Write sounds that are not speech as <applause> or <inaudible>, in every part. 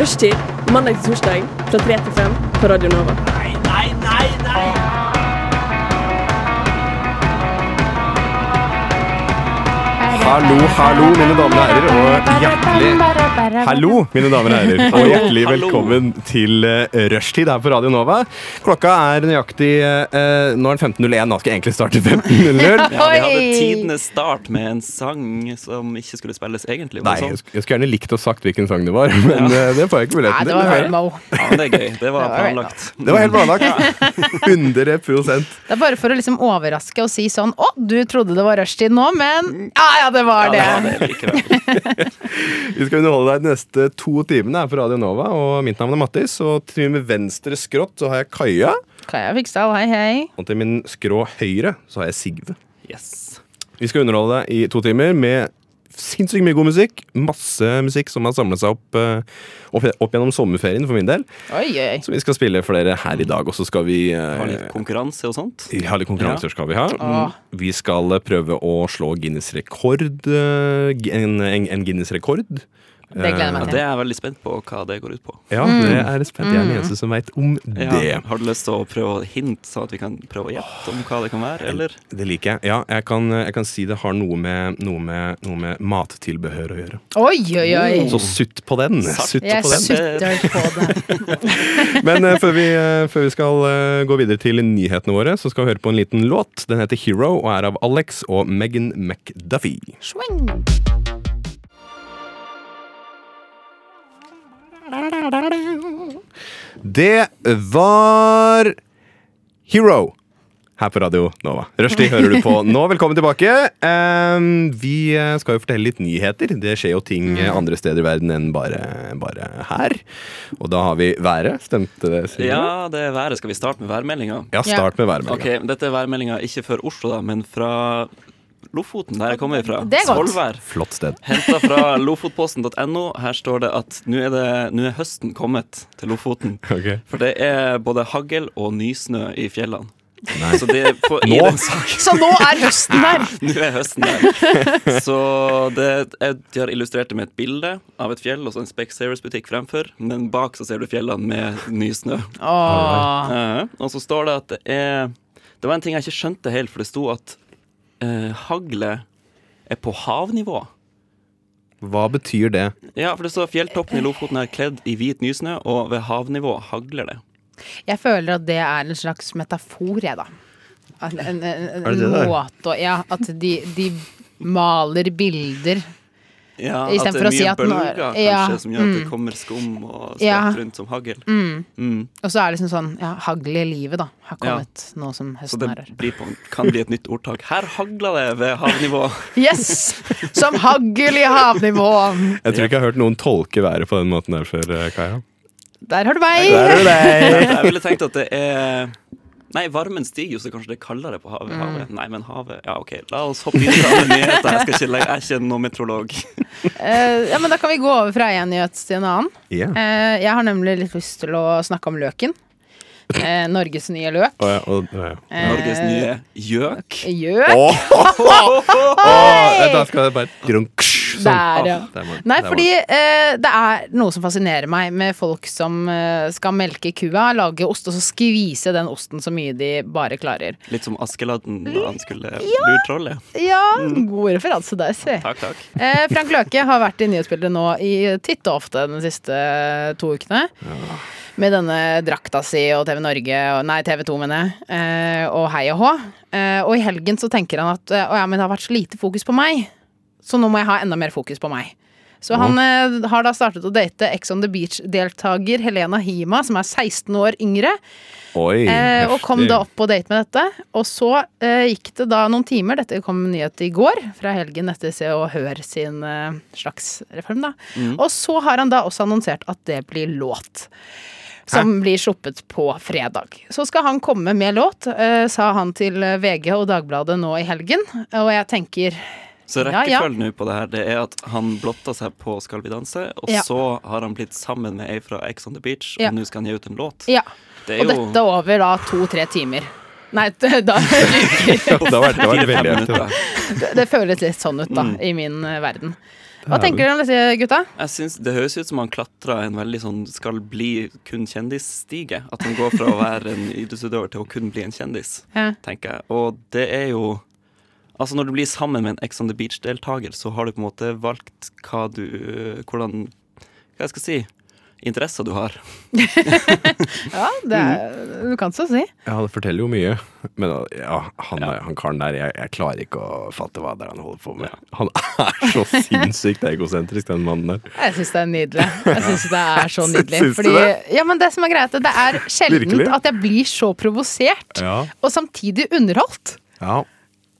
Rushtid mandag til torsdag fra 3 til 5 på Radio Nova. Nei, nei, nei, nei! Hallo, hallo, mine damer og herrer, og hjertelig Hallo, mine damer og herrer, og hjertelig Hallo. velkommen til eh, rushtid her på Radio Nova. Klokka er nøyaktig eh, Nå er den 15.01, da skal jeg egentlig starte <laughs> 15.00. Ja, vi hadde Oi. tidenes start med en sang som ikke skulle spilles egentlig. Nei, men jeg sånn. sk- jeg skulle gjerne likt å sagt hvilken sang det var, men eh, det får jeg ikke Nei, muligheten det til. var dessverre. Rainbow. Ja, men det er gøy. Det <laughs> var var right, planlagt. Det var helt planlagt. 100 Det er bare for å liksom overraske og si sånn Å, du trodde det var rushtid nå, men Ja, ja, det var det. Ja, det var det likevel. Vi skal underholde deg de neste to timene her på Radio Nova, og mitt navn er Mattis. Og til min venstre skrått så har jeg Kaja, Kaja Fiksdal, hei, hei. og til min skrå høyre så har jeg Sigve. Yes. Vi skal underholde deg i to timer med sinnssykt mye god musikk. Masse musikk som har samlet seg opp, eh, opp, opp gjennom sommerferien for min del. Oi, oi. Så vi skal spille for dere her i dag, og så skal vi eh, Har litt konkurranse og sånt. vi har litt konkurranser skal vi ha. Ah. Åh. Vi skal eh, prøve å slå Guinness rekord. eh, En, en, en Guinness rekord. Det gleder jeg meg Ja, til. det er jeg veldig spent på hva det går ut på. Ja, det er spent. Jeg er den eneste som veit om det. Mm. Ja, har du lyst til å prøve å hinte, sånn at vi kan prøve å gjette om hva det kan være, eller? Det liker jeg. Ja, jeg kan, jeg kan si det har noe med, noe, med, noe med mattilbehør å gjøre. Oi, oi, oi. Oh, Så sutt på den! Sart. Sutt Jeg på den. sutter på det. Men eh, før, vi, eh, før vi skal eh, gå videre til nyhetene våre, så skal vi høre på en liten låt. Den heter 'Hero' og er av Alex og Megan McDuffie. Swing. Det var 'Hero' her på Radio Nova. Rushdie hører du <laughs> på nå. Velkommen tilbake. Ehm, vi eh, skal jo fortelle litt nyheter. Det skjer jo ting Mm. eh, andre steder i verden enn bare, bare her. Og da har vi været. Stemte det, Silje? Ja, det er været. Skal vi starte med værmeldinga? Ja, start med været. Ok, dette er værmeldinga ikke for Oslo, da, men fra Lofoten, der jeg kommer ifra. Det er godt. Svolvær. Flott sted. Henta fra lofotposten.no. Her står det at nå er, det, nå er høsten kommet til Lofoten. Ok. For det er både hagl og nysnø i fjellene. Så det er på, i Nå? den saken Så nå er høsten der. Nå er høsten der. Så det, jeg, de har illustrert det med et bilde av et fjell og så en Specsavers-butikk fremfor. Men bak så ser du fjellene med nysnø. Åh. Eh, og så står det at det er Det var en ting jeg ikke skjønte helt, for det sto at eh, hagle er på havnivå. Hva betyr det? Ja, for det står fjelltoppen i Lofoten er kledd i hvit nysnø, og ved havnivå hagler det. Jeg føler at det er en slags metafor, jeg, da. At En, en, en, det det en der? måte å Ja, at de, de maler bilder. Ja, I stedet for å si at At det er mye nå er- bølger, kanskje, ja, mm. som gjør at det kommer skum og skvatt Ja. Mm. rundt som hagl. Og så er det liksom sånn Ja, hagl i livet, da, har Ja. kommet nå som Så høsten det er her. blir på, kan bli et nytt ordtak. Her hagler det ved havnivå. <laughs> Yes! Som hagl i havnivå. Jeg tror ikke jeg har hørt noen tolke været på den måten der før, eh, Kaja. Der har du meg! Jeg ville tenkt at det er Nei, varmen stiger jo, så kanskje det er kaldere på Mm. havet. havet. Nei, men havet Ja, OK, la oss hoppe inn i alle nyheter. Jeg, skal ikke legge, jeg er ikke noen meteorolog. Eh, ja, men Da kan vi gå over fra én nyhet til en annen. Ja. Eh, jeg har nemlig litt lyst til å snakke om løken. Eh, Norges nye løk. Å, ja, og- å, ja. Eh. Norges nye gjøk. Gjøk? Åh, da skal jeg bare grunk, sånn. Der, ja. Åh, der var den, Nei, der var fordi eh, det er noe som fascinerer meg med folk som eh, skal melke kua, lage ost, og så skvise den osten så mye de bare klarer. Litt som Askeladden da han skulle lure trollet. Ja, god referanse der, se. Mm. Takk, takk. Eh, Frank Løke har vært i nyhetsbildet nå i titt og ofte de siste to ukene. Med denne drakta si og TV Norge og, Nei, TV 2, mener jeg. Eh, og hei og hå. Eh, og i helgen så tenker han at eh, Å ja, men det har vært så lite fokus på meg, så nå må jeg ha enda mer fokus på meg. Så han eh, har da startet å date Ex on the Beach-deltaker Helena Hima, som er 16 år yngre. den. Oi, Eh, og kom heftig. da opp på date med dette. Og så eh, gikk det da noen timer, dette kom nyhet i går, fra helgen etter Se og Hør sin eh, slags reform, da. Og så har han da også annonsert at det blir låt. Som blir sluppet på fredag. Så skal han komme med låt, eh, sa han til eh, VG og Dagbladet nå i helgen. Og jeg tenker Så Ja, ja. rekkefølgen nå på det her, det er at han blotta seg på Skal vi danse, og Ja. så har han blitt sammen med ei fra Ex on the Beach, Ja. og nå skal han gi ut en låt. ja. Det Og er jo dette over da to-tre timer. Nei, <laughs> da Det var, det var fire-fem veldig heftig. minutter. Det føles litt sånn ut, da, i min eh, verden. Hva tenker dere om disse gutta? Jeg synes Det høres ut som han klatra en veldig sånn skal bli kun kjendisstige. At han går fra å være en idrettsutøver til å kun bli en kjendis, Ja. tenker jeg. Og det er jo Altså Når du blir sammen med en Ex on the Beach-deltaker, så har du på en måte valgt hva du Hvordan Hva jeg skal si Interesser du har. Ja, det er, du kan så si. Ja, det forteller jo mye. Men ja, han, er- han karen der, jeg, jeg klarer ikke å fatte hva det er han holder på med. Han er så sinnssykt egosentrisk, den mannen der. Jeg syns det er nydelig. Jeg synes det er <laughs> så nydelig Syns du fordi, det? ja, men det som er greit, det er sjeldent Virkelig? at jeg blir så provosert, Ja. og samtidig underholdt. Ja.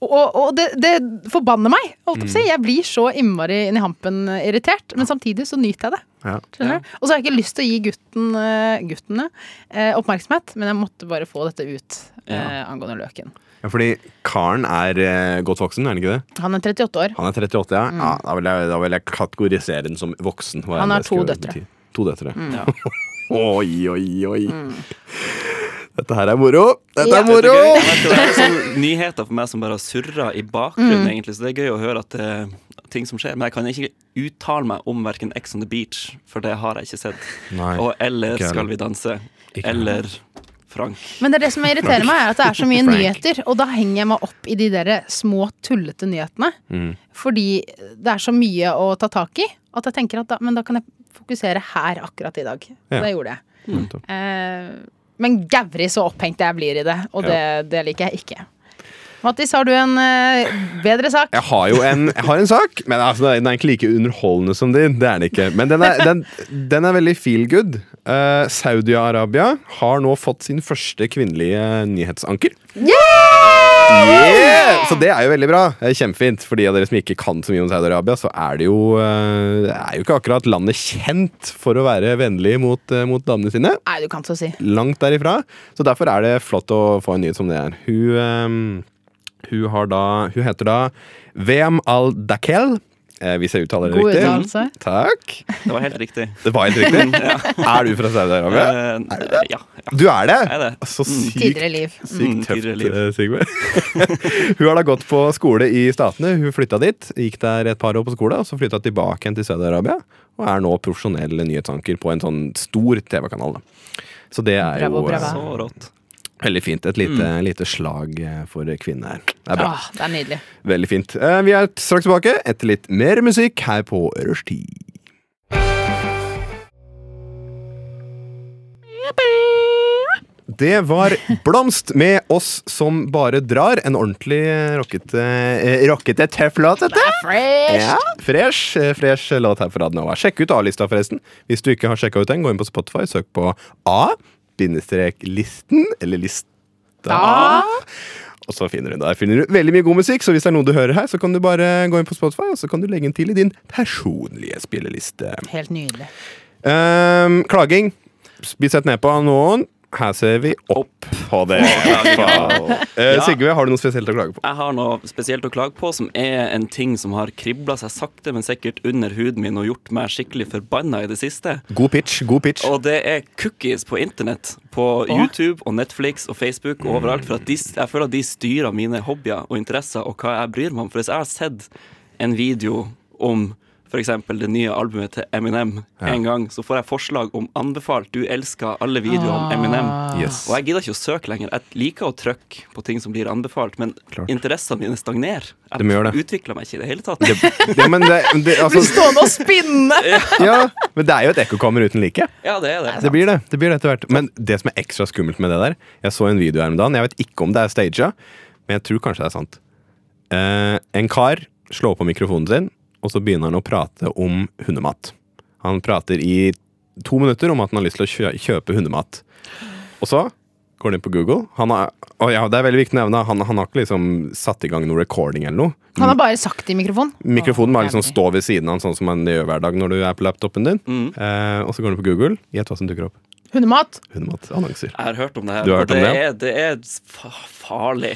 Og, og det, det forbanner meg. Holdt jeg på å si. Jeg blir så innmari inn i hampen eh, irritert, men samtidig så nyter jeg det. ja. Skjønner du? Og så har jeg ikke lyst til å gi gutten, eh, guttene eh, oppmerksomhet, men jeg måtte bare få dette ut eh, angående løken. Ja, fordi karen er eh, godt voksen, er han ikke det? Han er 38 år. Han er 38, ja. ja da, vil jeg, da vil jeg kategorisere den som voksen. hva Mm. Han enn har det skulle to døtre. Mm. bety. To døtre. Ja. Oi, oi, oi. Dette her er moro! Dette Mm. Ja. er moro! Det er gøy. Det er sånn nyheter for meg som bare har surra i bakgrunnen, egentlig. Så det er gøy å høre at det er ting som skjer. Men jeg kan ikke uttale meg om verken Ex on the Beach, for det har jeg ikke sett. Nei, og eller ikke heller. Skal vi danse. Ikke Eller Frank. Men det er det som irriterer meg, er at det er så mye Frank. nyheter, og da henger jeg meg opp i de der små, tullete nyhetene. Mm. Fordi det er så mye å ta tak i, at jeg tenker at da, men da kan jeg fokusere her akkurat i dag. Ja. Det gjorde jeg. Nettopp. Eh, men gævri så opphengt jeg blir i det, og Ja. det, det liker jeg ikke. Mattis, har du en eh, bedre sak? Jeg har jo en, jeg har en sak, men altså, den er ikke like underholdende som din. Det er den ikke. Men den er, den, den er veldig feel good. Eh, Saudi-Arabia har nå fått sin første kvinnelige nyhetsanker. Yeah! Så det er jo veldig bra. Det er Kjempefint. For de av dere som ikke kan så mye om Saudi-Arabia, så er det jo eh, Det er jo ikke akkurat landet kjent for å være vennlig mot, eh, mot damene sine. Nei, du kan så si. Langt derifra. Så derfor er det flott å få en nyhet som det er. Hun, ehm, hun, har da, hun heter da Veam al-Dakel. Eh, hvis jeg uttaler det God riktig. uttalelse. Takk. Det var helt riktig. Det var <laughs> helt riktig. Er du fra Saudi-Arabia? Eh, ja, ja. Du er det? Jeg er det. Så sykt Tidligere liv. Sykt Mm, tøft, tidligere liv. eh, Sigve. <laughs> hun har da gått på skole i Statene. Hun flytta dit, gikk der et par år på skole, og så flytta tilbake igjen til Saudi-Arabia. Og er nå profesjonell nyhetsanker på en sånn stor TV-kanal. da. Så det er jo Bravo, eh, bravo. Så rått. veldig fint. Et lite, Mm. lite slag eh, for kvinner her. Det er bra. Åh, det er nydelig. Veldig fint. Eh, Vi er straks tilbake etter litt mer musikk her på Rushtid. Det <laughs> var Blomst med oss som bare drar. En ordentlig eh, rockete, eh, rockete tøff låt, dette. Fresh! Ja, fresh, eh, fresh låt her på Radio Nova. Sjekk ut A-lista, forresten. Hvis du ikke har sjekka ut den, gå inn på Spotify, søk på A-listen, eller lista. Da. Og så finner du der finner du veldig mye god musikk, så hvis det er noe du hører her, så kan du bare gå inn på Spotify, og så kan du legge den til i din personlige spilleliste. Helt nydelig. Ehm, klaging. Bli sett ned på av noen. Her ser vi opp på det. i hvert fall. Eh, Sigve, har du noe spesielt å klage på? Jeg har noe spesielt å klage på, som er en ting som har kribla seg sakte, men sikkert under huden min og gjort meg skikkelig forbanna i det siste. God pitch. god pitch Og det er cookies på internett. På YouTube og Netflix og Facebook og overalt. For at de, jeg føler at de styrer mine hobbyer og interesser og hva jeg bryr meg om. For hvis jeg har sett en video om f.eks. det nye albumet til Eminem en gang, så får jeg forslag om anbefalt. Du elsker alle videoer om Eminem. Ah. Yes. Og jeg gidder ikke å søke lenger. Jeg liker å trykke på ting som blir anbefalt, men Klart. interessene mine stagnerer. De gjør Jeg det. utvikler meg ikke i det hele tatt. Ja, men det, det, Blir altså, stående og spinne! <laughs> ja, men det er jo et ekkokammer uten like. <laughs> Ja, det er det. Det blir det. det blir det etter hvert Men det som er ekstra skummelt med det der Jeg så en video her om dagen. Jeg vet ikke om det er staged, men jeg tror kanskje det er sant. Eh, en kar slår på mikrofonen sin, og så begynner han å prate om hundemat. Han prater i to minutter om at han har lyst til å kjø kjøpe hundemat. Og så går han inn på Google. Han har, og ja, det er veldig viktig å nevne han, han har ikke liksom satt i gang noe recording eller noe. Han har bare sagt det i mikrofonen. Mikrofonen Åh, bare liksom jævlig. stå ved siden av den, sånn som man gjør hver dag når du er på laptopen din. Mm. Eh, og så går du på Google. Gjett hva som dukker opp. Hundemat. Hundematannonser. Jeg har hørt om det her. Du har hørt og om det, det? Er, det er fa- farlig.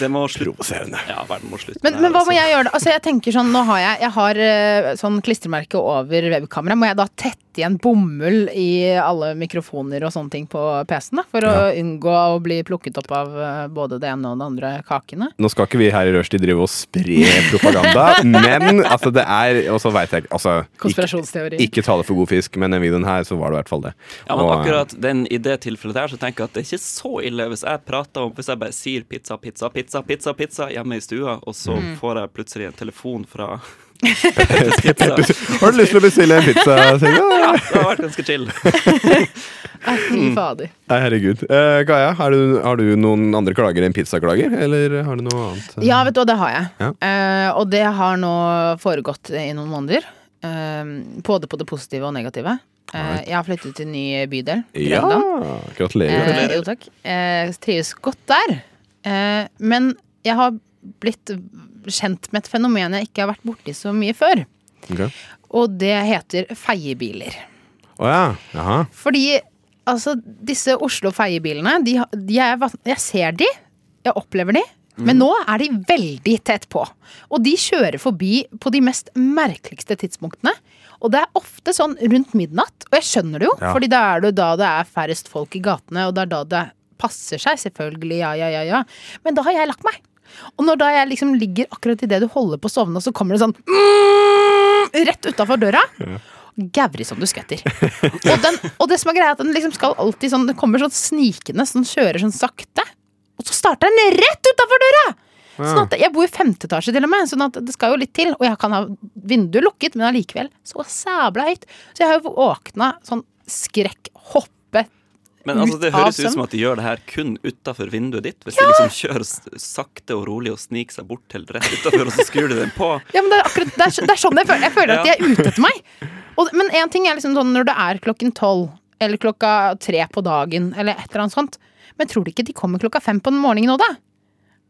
Det må slutte. Provoserende. Ja, verden må slutte. Men, med men det her, hva må altså. jeg gjøre da? Altså, jeg tenker sånn, nå har jeg, jeg har eh, sånn klistremerke over webkamera. Må jeg da tette sette igjen bomull i alle mikrofoner og sånne ting på PC-en, da, for å unngå å bli plukket opp av eh, både det ene og det andre kakene. Nå skal ikke vi her i Rushdie drive og spre propaganda, men altså det er Og så veit jeg ikke altså, Konspirasjonsteori. Ikke, ikke tale for god fisk, men den videoen her, så var det i hvert fall det. Ja, men Og, akkurat den, I det tilfellet der så tenker jeg at det er ikke så ille hvis jeg prater om Hvis jeg bare sier pizza, pizza, pizza, pizza pizza hjemme i stua, og så får jeg plutselig en telefon fra pizza. eh, <laughs> Har du lyst til å bestille en pizza, Silje? Ja, det har vært ganske chill. Nei, Fy Mm. fader. Nei, herregud. Eh, Kaja, har du, har du noen andre klager enn pizzaklager, eller har du noe annet? Ja, vet du hva, det har jeg. Ja. Eh, og det har nå foregått i noen måneder. eh, både på det positive og negative. Eh, Alright. jeg har flyttet til en ny bydel. Ja, Grønland. gratulerer. Eh, jo, takk. Eh, trives godt der. Eh, men jeg har blitt kjent med et fenomen jeg ikke har vært borti så mye før. Ok. Å Og det heter feiebiler. ja. Jaha. Fordi altså, disse Oslo-feiebilene, de, ha- de er, van- jeg ser de, jeg opplever de. Men nå er de veldig tett på. Og de kjører forbi på de mest merkeligste tidspunktene. Og det er ofte sånn rundt midnatt, og jeg skjønner det jo, Ja. fordi da er det jo da det er færrest folk i gatene, og det er da det passer seg, selvfølgelig, ja, ja, ja, ja. Men da har jeg lagt meg. Og når da jeg liksom ligger akkurat idet du holder på å sovne, og så kommer det sånn mm, rett utafor døra. Gauri som du skvetter. Og, den, og det som er greia er at den liksom skal alltid sånn, den kommer sånn snikende, sånn kjører sånn sakte. Og så starter den rett utafor døra! Sånn at Jeg bor i femte etasje, til og med, sånn at det skal jo litt til. Og jeg kan ha vinduet lukket, men allikevel så sabla høyt. Så jeg har jo våkna sånn skrekk, hoppe Men altså, det Ut av høres ut søvn. som at de gjør det her kun utafor vinduet ditt. Hvis de liksom kjører s- sakte og rolig og sniker seg bort til rett utafor, og så skrur de den på. Ja, men det er akkurat det er, så- det er sånn jeg føler. Jeg føler at de er ute etter meg. Og, men én ting er liksom sånn når det er klokken tolv, eller klokka tre på dagen, eller et eller annet sånt. Men tror du ikke de kommer klokka fem på den morgenen nå, da?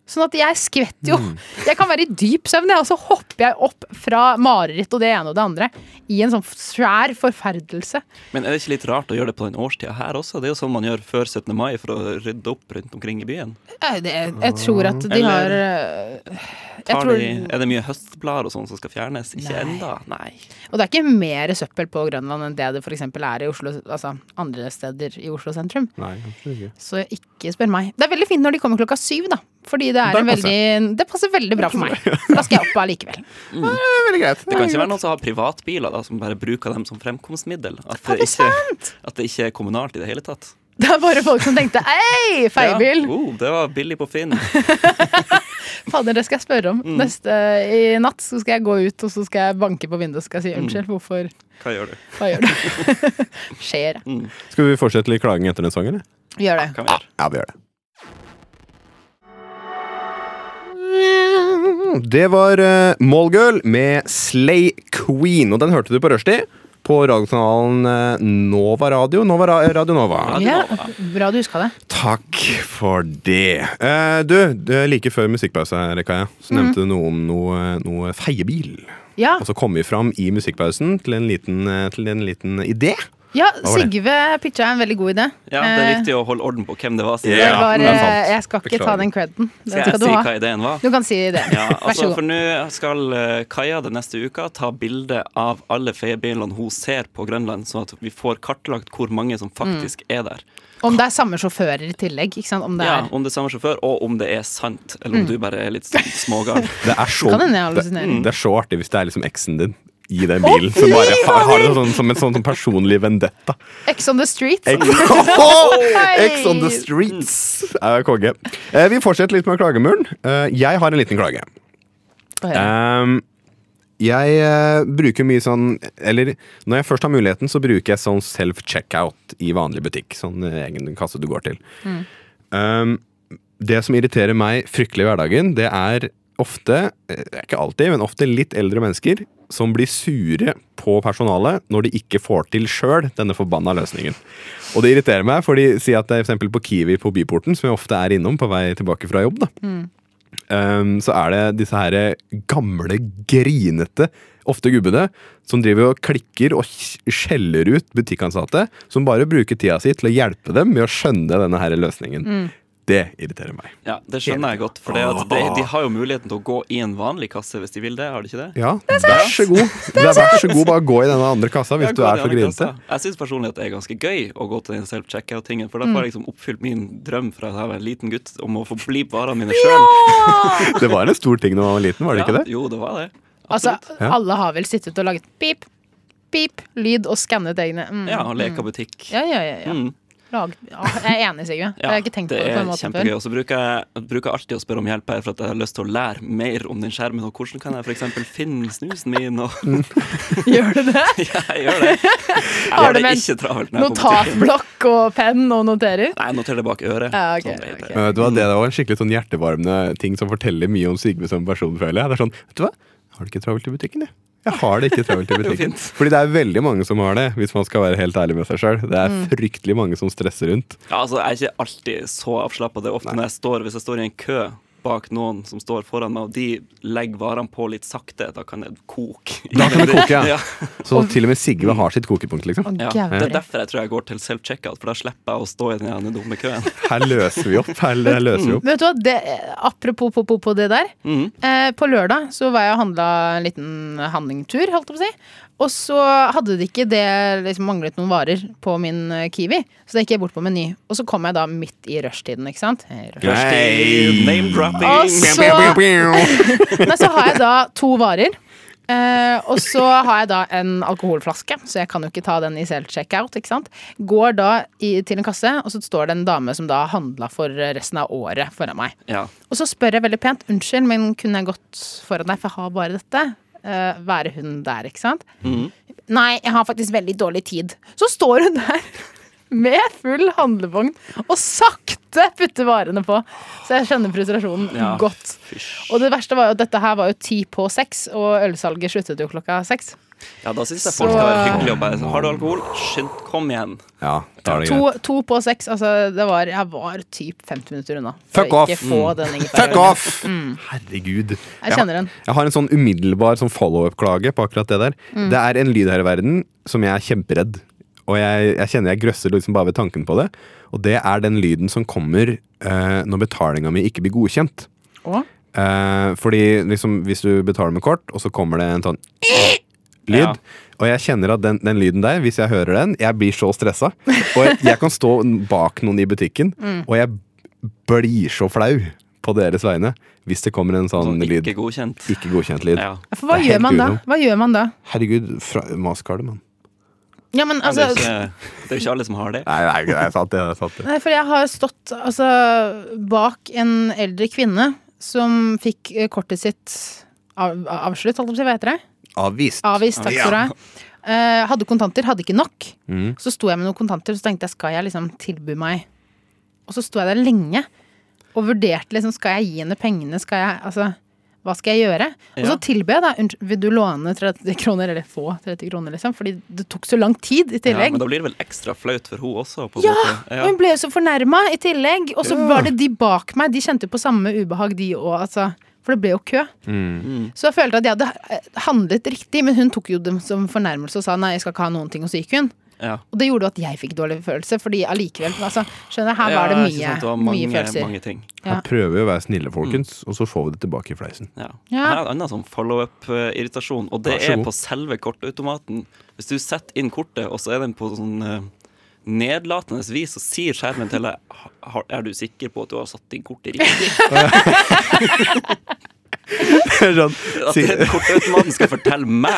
Sånn at jeg skvetter jo. Mm. Jeg kan være i dyp søvn, jeg, og så hopper jeg opp fra mareritt og det ene og det andre i en sånn svær forferdelse. Men er det ikke litt rart å gjøre det på den årstida her også? Det er jo sånn man gjør før 17. mai for å rydde opp rundt omkring i byen. Jeg, det, jeg tror at de Eller- har øh, jeg Tar tror, de, er det mye høstblader og sånn som skal fjernes? Ikke Nei. ennå, nei. Og det er ikke mer søppel på Grønland enn det det f.eks. er i Oslo, altså andre steder i Oslo sentrum. Nei, kanskje ikke. Så ikke spør meg. Det er veldig fint når de kommer klokka syv, da. Fordi det er Der en passer veldig Det passer veldig bra for meg. <laughs> For da skal jeg opp allikevel. Det er veldig greit. Det kan ikke være noen som har privatbiler da, som bare bruker dem som fremkomstmiddel. At det, ikke, at det ikke er kommunalt i det hele tatt. Det er bare folk som tenkte Hei, Ja. feiebil! Oh, det var billig på Finn. Fader, det skal jeg spørre om. Mm. Neste i natt så skal jeg gå ut, og så skal jeg banke på vinduet og skal Mm. si unnskyld. Hvorfor? Hva gjør du? Hva gjør du? <laughs> Skjer. Mm. det. Skal vi fortsette litt klaging etter den sangen, eller? Vi gjør det. Hva gjør? Ja, vi gjør det. Det var eh, Mallgirl med Slay Queen, og den hørte du på Rushdie. På radiokanalen eh, Nova Radio. Nova Ra Radio Nova. Ja, bra du huska det. Takk for det. Mm. Eh, du, det er like før musikkpause, her, Kaja, så nevnte du noe om noe, noe feiebil. Ja, Og så kom vi fram i musikkpausen til en liten, eh, til en liten idé. ja var det? Sigve pitcha en veldig god idé. Ja, det er Eh, viktig å holde orden på hvem det var. som- Ja, Det var, det er sant. eh, jeg skal ikke Beklager. ta den creden. Den Skal jeg skal du si ha. hva ideen var? Du kan si det. Ja, Vær så altså, for god. nå skal eh, Kaja den neste uka ta bilde av alle feiebilene hun ser på Grønland, sånn at vi får kartlagt hvor mange Mm. som faktisk er der. Om det er samme sjåfører i tillegg. Ikke sant? Om det Ja, er om det er samme sjåfør, og om det er sant, Mm. eller om du bare er litt sånn smågal. Det er så, Kan hende jeg det, hallusinerer. det er så artig hvis det er liksom eksen din i den bilen. som bare har, har det sånn, som en sånn, sånn personlig vendetta. Ex on the street. Ex, <laughs> Ex on the streets er konge. Eh, Vi fortsetter litt med klagemuren. Eh, Jeg har en liten klage. Um, jeg eh, bruker mye sånn Eller når jeg først har muligheten, så bruker jeg sånn self-checkout i vanlig butikk. Sånn eh, egen kasse du går til. Um, det som irriterer meg fryktelig i hverdagen, det er ofte, eh, det er ikke alltid, men ofte litt eldre mennesker som blir sure på personalet når de ikke får til sjøl denne forbanna løsningen. Og det irriterer meg, for de sier at det er for eksempel på Kiwi på Byporten, som jeg ofte er innom på vei tilbake fra jobb, da. Um, så er det disse her gamle, grinete, ofte gubbene, som driver og klikker og sk- skjeller ut butikkansatte, som bare bruker tida si til å hjelpe dem med å skjønne denne her løsningen. Det irriterer meg. Ja, Det skjønner jeg godt. For det at de, de har jo muligheten til å gå i en vanlig kasse hvis de vil det. har de ikke det? Ja, vær så god. Det er vær så god, bare gå i denne andre kassa hvis Ja, du gå til er så andre grinete. kassa. Jeg syns personlig at det er ganske gøy å gå til den self-checkout-tingen, for da Mm. får jeg liksom oppfylt min drøm fra da jeg var en liten gutt om å få bli varene mine sjøl. Det var en stor ting da man var liten, var det ikke det? Jo, det var det. Altså, Absolutt. Ja. alle har vel sittet og laget pip, pip, lyd og skannet egne. Mm. Ja, og leka butikk. Ja, ja, ja, ja. Mm. Lag. ja. Jeg er enig, Sigve. jeg har ikke tenkt på det på den måten kjempegøy. før. Og så bruker jeg bruker alltid å spørre om hjelp her for at jeg har lyst til å lære mer om den skjermen. Og hvordan kan jeg f.eks. finne snusen min? Og <laughs> <laughs> Gjør du det? ja, jeg gjør det. Jeg Har gjør du det med en ikke travelt. når jeg kommer til- Notatblokk og penn og noterer? Nei, jeg noterer det bak øret. Ja, ok, sånn det heter. ok. Men vet du hva, Eh, Det der var en skikkelig sånn hjertevarmende ting som forteller mye om Sigve som person. føler jeg. Det er sånn, vet du hva? Jeg har det ikke travelt i butikken, jeg. Jeg har det ikke travelt i jo butikken. fint. Fordi det er veldig mange som har det, hvis man skal være helt ærlig med seg sjøl. Det Mm. er fryktelig mange som stresser rundt. Ja, altså, jeg er ikke alltid så avslappa. Det er ofte når jeg står, hvis jeg står i en kø bak noen som står foran meg, og de legger varene på litt sakte, da kan det koke. Da kan det koke, <laughs> ja. ja. Så til og med Sigve har sitt kokepunkt, liksom. Ja. Gæren. Det er derfor jeg tror jeg går til self-checkout, for da slipper jeg å stå i den ene dumme køen. Her løser vi opp. Her løser vi opp. Men vet du hva, det, apropos på, på, på det der. Eh, på lørdag så var jeg og handla en liten handlingtur, holdt jeg på å si. Og så hadde de ikke det liksom manglet noen varer på min eh, Kiwi, så da gikk jeg bort på Meny. Og så kom jeg da midt i rushtiden, ikke sant. Eh, rush- Nei. Og Name-dropping. så, men så har jeg da to varer. Eh, og så har jeg da en alkoholflaske, så jeg kan jo ikke ta den i self-checkout. ikke sant? Går da i, til en kasse, og så står det en dame som da handla for resten av året foran meg. Ja. Og så spør jeg veldig pent Unnskyld, men kunne jeg gått foran deg, for jeg har bare dette. Eh, være hun der, ikke sant? Mhm. Nei, jeg har faktisk veldig dårlig tid. Så står hun der <laughs> med full handlevogn og sakte putter varene på. Så jeg skjønner frustrasjonen Ja. godt. Og det verste var jo at dette her var jo ti på seks, og ølsalget sluttet jo klokka seks. ja, da syns jeg Så- folk skal være hyggelige og bare sånn, Har du alkohol? Skynd, kom igjen. Ja, da er det greit. To, to på seks. Altså, det var, jeg var typ 50 minutter unna. Fuck å off. Mm. Ikke få den Fuck ingefærølen. off! Herregud. Mm. Jeg kjenner den. Jeg har en sånn umiddelbar sånn follow-up-klage på akkurat det der. Mm. Det er en lyd her i verden som jeg er kjemperedd. Og jeg, jeg kjenner jeg grøsser liksom bare ved tanken på det. Og det er den lyden som kommer eh, når betalinga mi ikke blir godkjent. Å? Eh, fordi liksom, hvis du betaler med kort, og så kommer det en sånn <clears throat> lyd. Ja. Og jeg kjenner at den, den lyden der, hvis jeg hører den, jeg blir så stressa. Og jeg, jeg kan stå bak noen i <laughs> butikken, Mm. og jeg blir så flau på deres vegne hvis det kommer en sånn, Sånn, lyd. ikke godkjent. Ikke godkjent lyd. Ja. For hva Det er gjør helt man da? uro. Hva gjør man da? Herregud, fra, maskar det, mann. Ja, men Det, altså er ikke, det er jo ikke alle som har det. Nei, nei, det er sant, det. Er sant, det. Nei, for jeg har stått altså, bak en eldre kvinne som fikk eh, kortet sitt av, avslutt, holdt jeg på å si, hva heter det? Avvist. Avvist, takk skal du ha. Eh, hadde kontanter, hadde ikke nok. Mm. Så sto jeg med noen kontanter, så tenkte jeg skal jeg liksom tilby meg? Og så sto jeg der lenge og vurderte liksom, skal jeg gi henne pengene, skal jeg Altså, hva skal jeg gjøre? Og så Ja. tilbød jeg da, unnskyld, vil du låne 30 kroner, eller få 30 kroner, liksom? Fordi det tok så lang tid i Ja, tillegg. men da blir det vel ekstra flaut for hun også. På en Ja! måte. Og hun ble jo så fornærma i tillegg. Og så Ja. var det de bak meg. De kjente på samme ubehag, de òg. Altså. For det ble jo kø. Mm. Så jeg følte at jeg hadde eh, handlet riktig, men hun tok jo det som fornærmelse og sa nei, jeg skal ikke ha noen ting, og så gikk hun. Ja. Og det gjorde jo at jeg fikk dårlig følelse, fordi allikevel altså, Skjønner, her var det Ja, ikke mye, sant, det var mye følelser. Mange ting. Ja. Her prøver vi å være Mm. snille, folkens, og så får vi det tilbake i <laughs> fleisen. Ja. Ja. Her er en annen sånn follow-up-irritasjon, og det Vær så er god. på selve kortautomaten. Hvis du setter inn kortet, og så er den på sånn eh, nedlatende vis, så sier skjermen til deg "Ha- har- Er du sikker på at du har satt inn kortet riktig? sånn, At si, den kortautomaten skal fortelle meg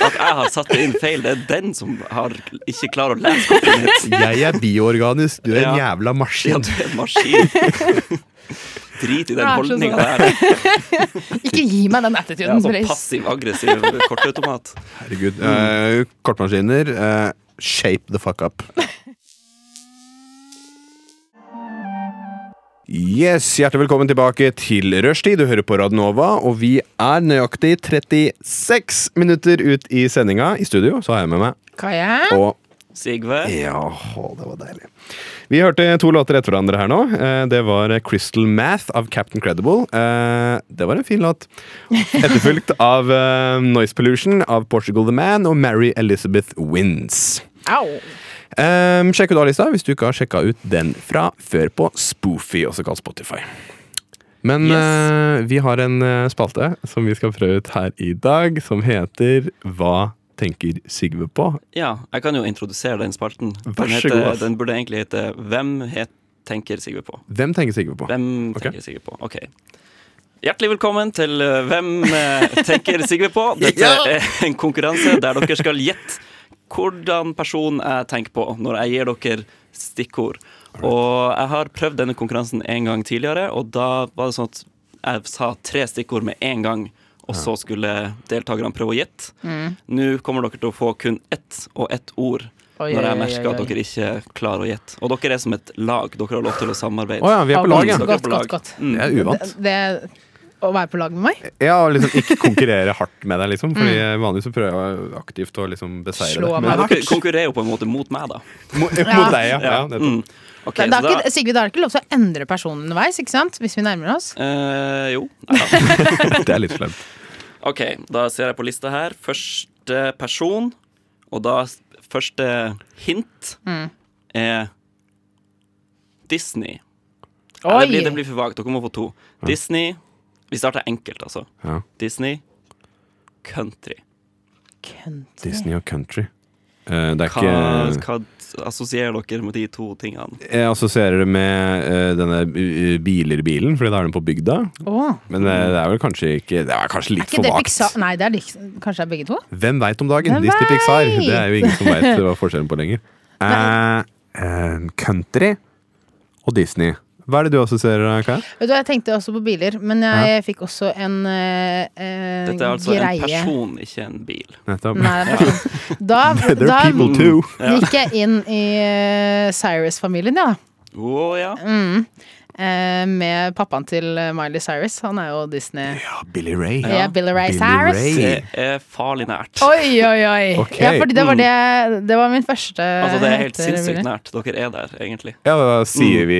at jeg har satt det inn feil. Det er den som har ikke klarer å lese kortet mitt. <laughs> jeg er bioorganisk, du er en Ja. jævla Ja, maskin. du er en maskin. Drit i Det den er så holdninga der. Ikke gi meg den attituden, Ja, sånn please. passiv-aggressiv kortautomat. Herregud. Eh, kortmaskiner, eh, shape the fuck up. Yes, Hjertelig velkommen tilbake til rushtid. Du hører på Radnova, og vi er nøyaktig 36 minutter ut i sendinga. I studio så har jeg med meg Kaja? og Sigve? Ja, å, det var deilig. Vi hørte to låter etter hverandre her nå. Eh, Det var Crystal Math av Captain Credible. Eh, Det var en fin låt. Etterfulgt av eh, Noise Pollution av Portugal The Man og Mary Elizabeth Wins. Au. Ehm, sjekk ut A-lista hvis du ikke har sjekka ut den fra før på Spoofy, også kalt Spotify. Men Yes. eh, vi har en eh, spalte som vi skal prøve ut her i dag, som heter Hva tenker Sigve på? Ja, jeg kan jo introdusere den spalten. Vær Den, så god, heter, ass. den burde egentlig hete Hvem het, tenker Sigve på? Hvem tenker Sigve på? Hvem Ok. tenker Sigve på? Ok. Hjertelig velkommen til eh, Hvem eh, tenker Sigve på? <laughs> Dette Ja! er en konkurranse der dere skal gjette hvordan person jeg tenker på når jeg gir dere stikkord. Og jeg har prøvd denne konkurransen en gang tidligere, og da var det sånn at jeg sa tre stikkord med en gang, og så skulle deltakerne prøve å gjette. Mm. Nå kommer dere til å få kun ett og ett ord. når Oi, jeg oi, oi, merker at oi. dere ikke klarer å gjette. Og dere er som et lag. Dere har lov til å samarbeide. Å ja, vi er på lag, ja. Godt, Dere er på godt, lag. godt. Mm. Det er uvant. Det å være på lag med meg? Ja, og liksom ikke konkurrere hardt med deg, liksom. Fordi vanligvis så prøver jeg aktivt å liksom beseire Mm. Slå deg. meg Men- Men dere konkurrerer jo på en måte mot meg, da. Mot, Ja. mot deg, ja. ja. nettopp. Mm. Ok, Men det så er da ikke, Sigrid, da er det ikke lov til å endre personen underveis, ikke sant? Hvis vi nærmer oss. eh, Jo. <laughs> Neida. Det er litt slemt. OK, da ser jeg på lista her. Første person, og da s- første hint Mm. er Disney. Ja, det, blir, det blir for vagt. Dere må få to. Disney Vi starter enkelt, altså. Ja. Disney country. Kønt. Disney og country. Eh, det er Hva, ikke hva assosierer dere med de to tingene? Jeg assosierer det med eh, denne eh, biler-bilen, fordi da er den på bygda. Åh. Men eh, det er vel kanskje ikke Det er kanskje Er litt ikke for det vagt. Pixar? Nei, det er liksom, kanskje det er begge to? Hvem veit om dagen? Hvem Disney Pixar. vet? Det er jo ingen som veit hva forskjellen på lenger. Eh, eh, country og Disney. Hva er det du assosierer, Kaja? Vet du, hva, Jeg tenkte også på biler, men jeg fikk også en eh, eh, Dette er altså greie. en person, ikke en bil. Nettopp. <laughs> Nei, det er en person. Da, There da are people too. gikk jeg inn i eh, Cyrus-familien, ja. Å ja. Eh, med pappaen til eh, Miley Cyrus. Han er jo Disney. Ja, Billy Ray. Ja, Billy Ray Billy Cyrus. Ray. Det er farlig nært. Oi, oi, oi! Ok. Mm. Ja, fordi det var det Det var min første Altså, det er helt etter- sinnssykt nært. Dere er der, egentlig. Ja, da Mm. sier vi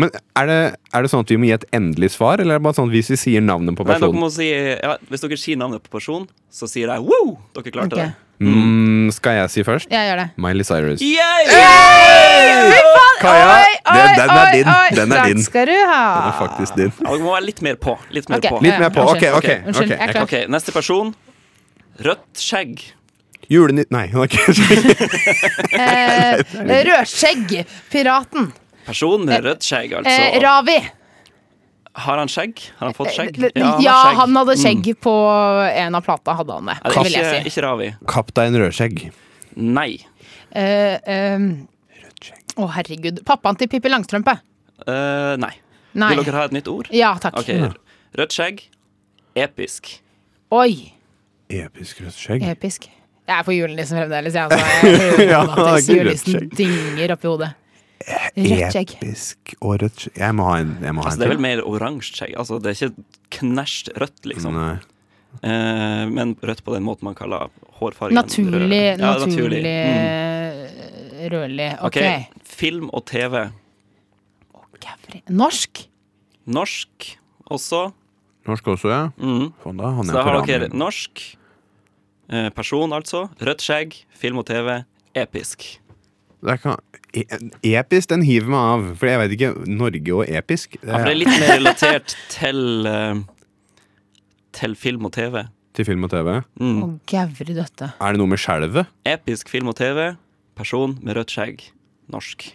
Men er det, er det sånn at vi må gi et endelig svar, eller er det bare sånn at hvis vi sier navnet på Nei, dere personen må si, ja, hvis dere sier navnet på personen, så sier jeg wow! Dere klarte Ok. mm, Skal jeg si først? Jeg gjør det. Miley Cyrus. det. Yay! Fy faen! Kaja, Oi, oi, den- den er oi, din. oi. Den er Takk din. skal du ha. Den er faktisk din. Ja, dere må være litt mer på. Litt mer Ok. på. Litt mer på. Ok, Unnskyld. ok. Unnskyld, ok, jeg er jeg klar. OK, neste person. Rødt skjegg. Julenytt Nei, <laughs> han har ikke Eh, Rødskjegg. Piraten. Person med rødt skjegg, Eh, altså. Ravi. Eh, Har han skjegg? Har han fått skjegg? Ja, har han hadde Mm. skjegg på en av plata. Hadde han det, Mm. Nei, det vil Ikke, jeg si. ikke Ravi. Kaptein Rødskjegg. Nei. Eh, ehm, Å, herregud. Pappaen til Pippi Langstrømpe. Eh, nei. Nei. Vil dere ha et nytt ord? Ja, takk. OK. Rødt skjegg. Episk. Oi. Episk rødskjegg. Episk. Jeg er på julenissen fremdeles, jeg. Altså. Ja, han har ikke julenissen rødt dinger oppi hodet. Rødt skjegg. Episk og rødt skjegg. Jeg må ha en, jeg må ha Altså, en det er vel til. mer oransje skjegg. Altså, det er ikke knæsj rødt, liksom. Nei. Eh, men rødt på den måten man kaller hårfargen. Naturlig, rød. Ja, naturlig Mm. eh, rødlig. Ok, Ok. Film og TV. Gavri. Norsk? Norsk også. Norsk også, ja. Mm. Faen, da han Så er da på har dere ramen. norsk eh, person, altså. Rødt skjegg, film og TV. Episk. Det er ikke- e- Episk, den hiver meg av. For jeg vet ikke Norge og episk. Det Ja, for det er, er litt mer <laughs> relatert til eh, til film og TV. til film og TV. Å, Mm. gævri døtte. Er det noe med skjelvet? Episk film og TV. Person med rødt skjegg. Norsk.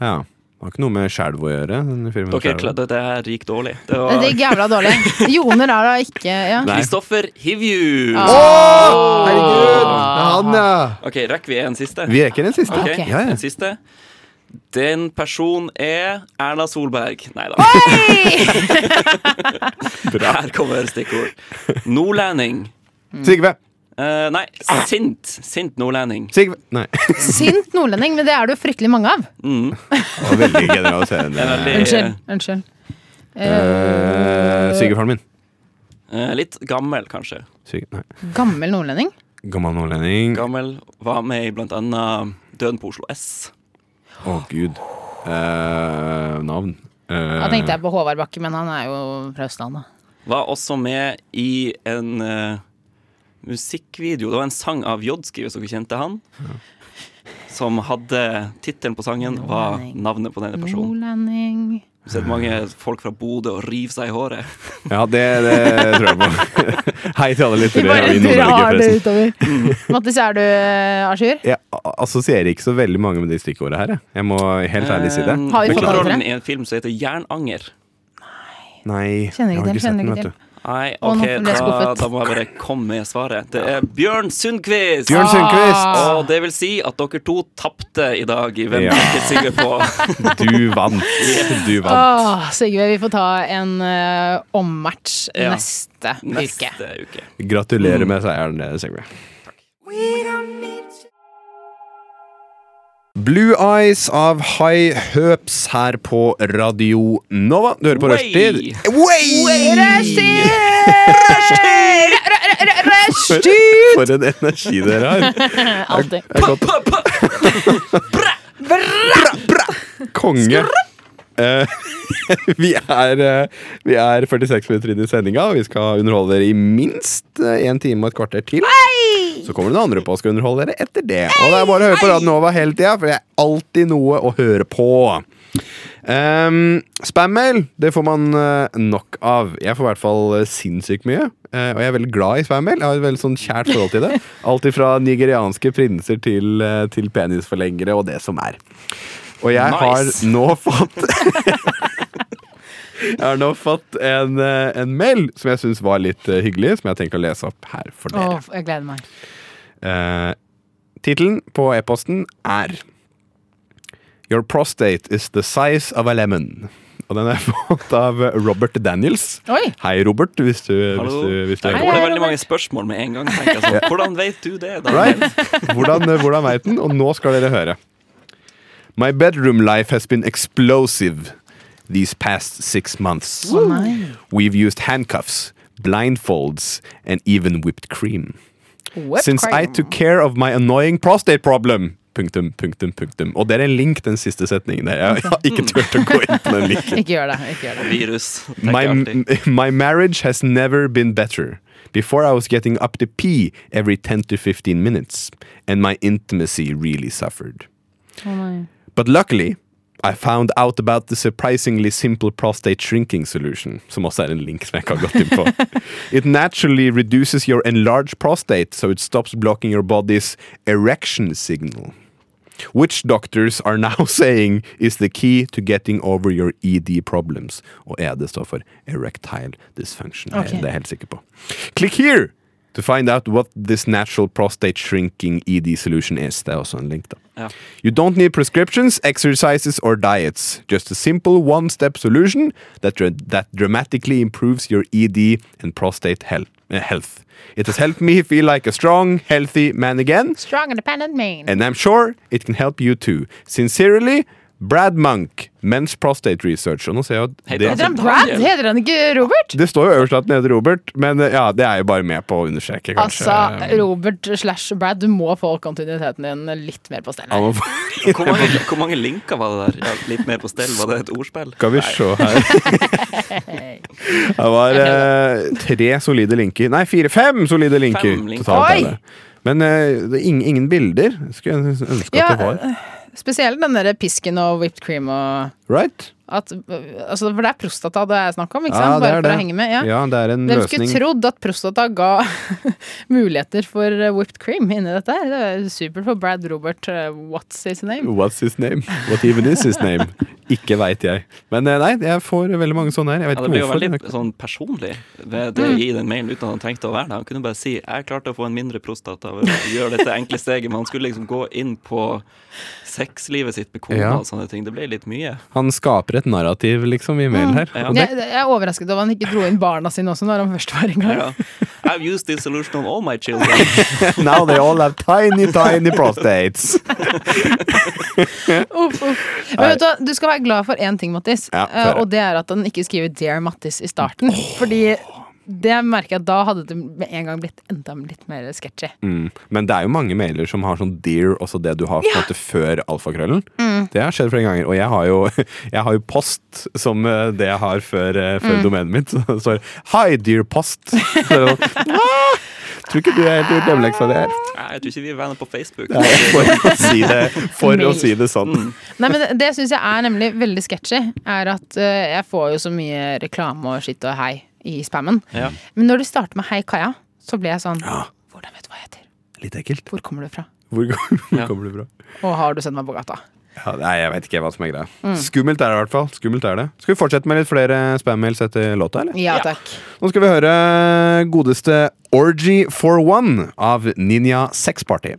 Ja. Det har ikke noe med skjelv å gjøre. Den filmen Dere Skjelvet. kledde det her gikk dårlig. Det Nei, Det var er gævla dårlig. Joner er da ikke <laughs> ja. Nei. Kristoffer Hivju. Herregud! Han, ja! Ok, rekker vi en siste? Vi rekker den siste. Ok, Ok. Ja, ja. Den siste. Den personen er Erna Solberg. Nei da. <laughs> Her kommer stikkord. Nordlending. Sigve! Eh, nei, sint. Sint nordlending. Sigve! Nei. Sint nordlending, men det er det jo fryktelig mange av. Mm. Det var Veldig generaliserende. En veldig, Unnskyld. unnskyld. <laughs> Eh, Svigerfaren min. eh, litt gammel, kanskje. Sviger, nei. Gammel nordlending? Gammel nordlending. Å, Gammel var med i blant annet Døden på Oslo S. gud. Eh, navn. Eh, Da tenkte jeg på Håvard Bakke, men han er jo fra Østlandet. Var også med i en eh, musikkvideo. Det var en sang av Jodski, hvis dere kjente han. som hadde tittelen på sangen, var navnet på denne personen. Nordlending Du ser mange folk fra Bodø og river seg i håret. Ja, det, det tror jeg på. <laughs> Hei til alle Vi lyttere bare i Nord-Norge, drar det forresten. utover. <laughs> Mattis, er du eh, à jour? Jeg a- assosierer ikke så veldig mange med de stikkordene her. Jeg. jeg må helt ærlig si det. Eh, Har vi fått alle Hovedrollen tre? i en film som heter Jernanger. Nei, jeg Kjenner har ikke ikke til, sett kjenner den, vet ikke til. du. Nei, Å, nå OK, ble jeg da, skuffet. da må jeg bare komme med svaret. Det er Bjørn Sundquist! Bjørn Sundquist! Ah. Og det vil si at dere to tapte i dag i Hvem Ja. er ikke sikker <laughs> på. Du vant. Du vant. Åh, Sigve, vi får ta en eh, ommatch Ja. neste, uke. Neste uke. Gratulerer med seieren, eh, Segway. Blue Eyes av High Høps her på Radio Nova. Du hører på Way! Rushtid. Way! <laughs> For en energi dere har. Alltid. Konge. Eh, <laughs> vi, er, eh, vi er 46 minutter inn i sendinga, og vi skal underholde dere i minst én time og et kvarter til. Så kommer det noen andre på og skal underholde dere etter det. Og det er bare å høre på Radio Nova hele tida, for det er alltid noe å høre på. Um, Spam-mail det får man eh, nok av. Jeg får i hvert fall eh, sinnssykt mye. eh, og jeg er veldig glad i spam-mail. Jeg har et veldig sånn kjært forhold til det. Alt ifra nigerianske prinser til, eh, til penisforlengere og det som er. Og jeg Nice. har nå fått Jeg har nå fått en, eh, en mail som jeg syns var litt eh, hyggelig, som jeg har tenkt å lese opp her for dere. Åh, jeg gleder meg. Eh, Titelen på e-posten er Your prostate is the size of a lemon. Og den er <laughs> fått av Robert Daniels. Oi. Hei, Robert, hvis du, hvis Hallo. du, hvis du Der er Hei, går det hei, veldig mange Robert. spørsmål med en gang. tenker jeg <laughs> sånn. Hvordan vet du det? Da? Right? Hvordan, eh, hvordan veit den? Og nå skal dere høre. My bedroom life has been explosive these past six months. Å nei. We've used handcuffs, blindfolds, and even whipped cream. Since I took care of my annoying prostate problem. Punktum, punktum, punktum. Og det er en link, den siste setningen der. Jeg har ikke turt å gå inn på den linken. Ikke gjør det. ikke gjør det Virus. tenker My, jeg alltid. my marriage has never been better. Before I was getting up to pee every 10 to 15 minutes, and my intimacy really suffered. Å nei. But luckily, I found out about the surprisingly simple prostate shrinking solution, som også er en link som jeg ikke har gått inn på. It naturally reduces your enlarged prostate, so it stops blocking your body's erection signal. Which doctors are now <laughs> saying is the key to getting over your ED problems. Og ED står for erectile dysfunction. Det er- Ok. Det er jeg helt sikker på. Click here to find out what this natural prostate shrinking ED solution is. Det er også en link, da. Ja. You don't need prescriptions, exercises, or diets. Just a simple one step solution that, dra- that dramatically improves your ED and prostate health. uh, health. It has helped me feel like a strong, healthy man again, Strong independent man. and I'm sure it can help you too. Sincerely, Brad Monk, Men's Prostate Research. Og nå ser jeg at Heter Heter det, han Brad? Heter han ikke Robert? det står jo øverst at den heter Robert, men uh, ja, det er jo bare med på å understreke, kanskje. Altså, Robert slash Brad, du må få kontinuiteten din litt mer på stell. Ja, her. nå- <laughs> Hvor mange, hvor mange linker var det der? Ja, litt mer på stell, var det et ordspill? Skal vi se <laughs> her Det var eh, tre solide linker Nei, fire, fem solide linker, Fem linker. totalt er Oi! det. Men eh, det er ingen, ingen bilder Skulle jeg ønske Ja, eh, at det var Spesielt den der pisken og whipped cream og Right? at, altså, For det er prostata det er snakk om, ikke sant? Bare for å henge med. Ja. Ja, det er en Hvem løsning skulle trodd at prostata ga <laughs> muligheter for eh, whipped cream inni dette? her? Det er supert for Brad Robert, eh, what's his name? What's his name? What even is his name? Ikke vet jeg Men eh, nei, jeg får veldig mange sånne her Ja, Jeg vet det blir jo ikke hvorfor veldig sånn personlig ved Mm. det å gi den mailen uten at han trengte å være der. Han kunne bare si 'jeg klarte å få en mindre prostata ved å gjøre dette enkle steget', men han skulle liksom gå inn på sexlivet sitt med kona Ja. og sånne ting. Det ble litt mye. Han skaper et narrativ liksom i Mm. mail her Ja. Og det, Jeg, jeg er overrasket over at han ikke dro inn barna sine også når han først var i gang. Ja. I've used this solution on all my children. Now they all have tiny, tiny <laughs> prostates Uff, uff. Men vet du, hva, du skal være glad for én ting, Mattis. Ja, eh, få høre. og det er at han ikke skriver 'Dear Mattis' i starten. Fordi det merker jeg at da hadde det med en gang blitt enda litt mer sketchy. Mm. Men det er jo mange mailer som har sånn dear, også det du har på en måte før alfakrøllen. Det har skjedd flere ganger. Og jeg har jo, <laughs> jeg har jo post som eh, det jeg <laughs> har før, eh, før domenet mitt. Så det står 'Hi, dear post'. Så det er sånn, «Ah, tror ikke du har helt gjort hjemmeleksa di her. Nei, jeg tror ikke vi er venner på Facebook. Nei, For å si det, for å Mail. si det sånn. Nei, men Det, det syns jeg er nemlig veldig sketchy. Er at eh, Jeg får jo så mye reklame og skitt og hei i spammen. Ja. Men når de starter med 'Hei, Kaja', så blir jeg sånn Ja. Hvordan vet du hva jeg heter? Litt ekkelt. Hvor kommer du fra? Hvor, hvor Ja. kommer du fra? Og har du sett meg på gata? Ja, nei, jeg vet ikke hva som er greia. Skummelt er det i hvert fall. Skummelt er det. Skal vi fortsette med litt flere spam-mails etter låta, eller? Ja takk. Nå skal vi høre godeste Orgy for One av Ninja Sex Party.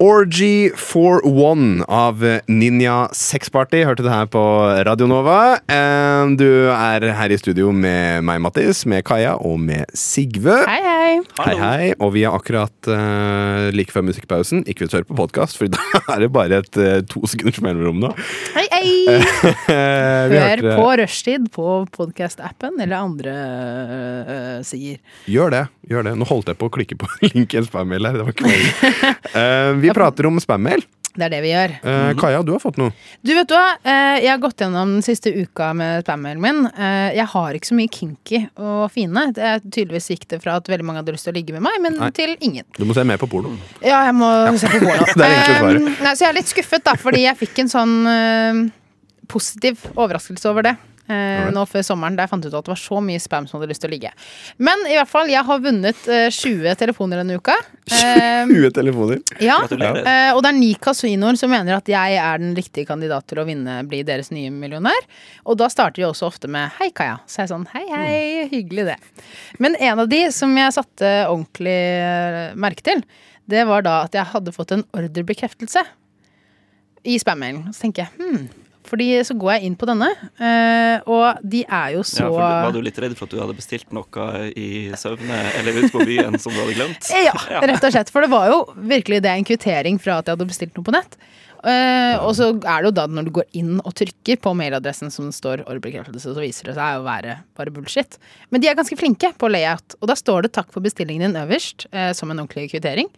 Orgy for One av Ninja Sex Party. Hørte det her på Radio Nova. Eh, Du er her i studio med meg, Mattis, med Kaja og med Sigve. Hei, hei. Hei, hei. Og vi er akkurat eh, like før musikkpausen. Ikke hør på podkast, for <laughs> da er det bare et eh, to sekunders mellomrom nå. Hei, hei. Eh, vi Hør hørte- på Rushtid på podkast-appen eller andre øh, sider. Gjør det. gjør det Nå holdt jeg på å klikke på <laughs> en link i en spam-mail her. Det var ikke meningen. Eh, vi prater om spam-mail. Det er det vi gjør. Eh, Kaja, du har fått noe. Du vet du hva, Eh, jeg har gått gjennom den siste uka med spammeren min. Eh, Jeg har ikke så mye kinky og fine. Det er tydeligvis gikk det fra at veldig mange hadde lyst til å ligge med meg, men Nei. til ingen. Du må se mer på porno. Ja, jeg må se på porno. <laughs> Det er egentlig svaret. Eh, nei, så jeg er litt skuffet, da, fordi jeg fikk en sånn eh, positiv overraskelse over det. eh, Alright. nå før sommeren, da jeg fant ut at det var så mye spam som hadde lyst til å ligge. Men i hvert fall, jeg har vunnet eh, 20 telefoner denne uka. <laughs> <laughs> Eh, 20 telefoner. ja, Gratulerer. eh, og det er ni kasinoer som mener at jeg er den riktige kandidat til å vinne, bli deres nye millionær. Og da starter de også ofte med 'hei, Kaja'. Så jeg er sånn 'hei, hei', hyggelig det. Men en av de som jeg satte ordentlig eh, merke til, det var da at jeg hadde fått en ordrebekreftelse i spammailen. Så tenker jeg hm. Fordi så går jeg inn på denne, eh, og de er jo så eh, Ja, for du- var du litt redd for at du hadde bestilt noe i søvne eller ute på byen som du hadde glemt? Eh, <laughs> Ja, rett og slett. For det var jo virkelig det en kvittering fra at jeg hadde bestilt noe på nett. Eh, og så er det jo da når du går inn og trykker på mailadressen som det står ordrebekreftelse, så viser det seg å være bare bullshit. Men de er ganske flinke på layout, og da står det 'takk for bestillingen din' øverst eh, som en ordentlig kvittering.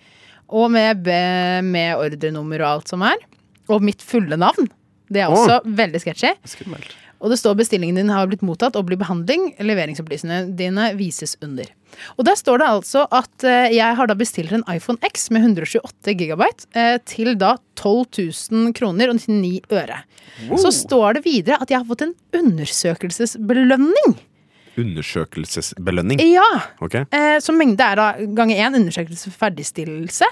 Og med, be- med ordrenummer og alt som er. Og mitt fulle navn. Det er også veldig sketchy. Skummelt. Og det står bestillingen din har blitt mottatt og blir behandling. Leveringsopplysningene dine vises under. Og der står det altså at eh, jeg har da bestilt en iPhone X med 128 gigabyte eh, til da 12 000 kroner og 99 øre. Så står det videre at jeg har fått en undersøkelsesbelønning. Undersøkelsesbelønning. Ja! Ok? Eh, så mengde er da ganger én undersøkelse for ferdigstillelse.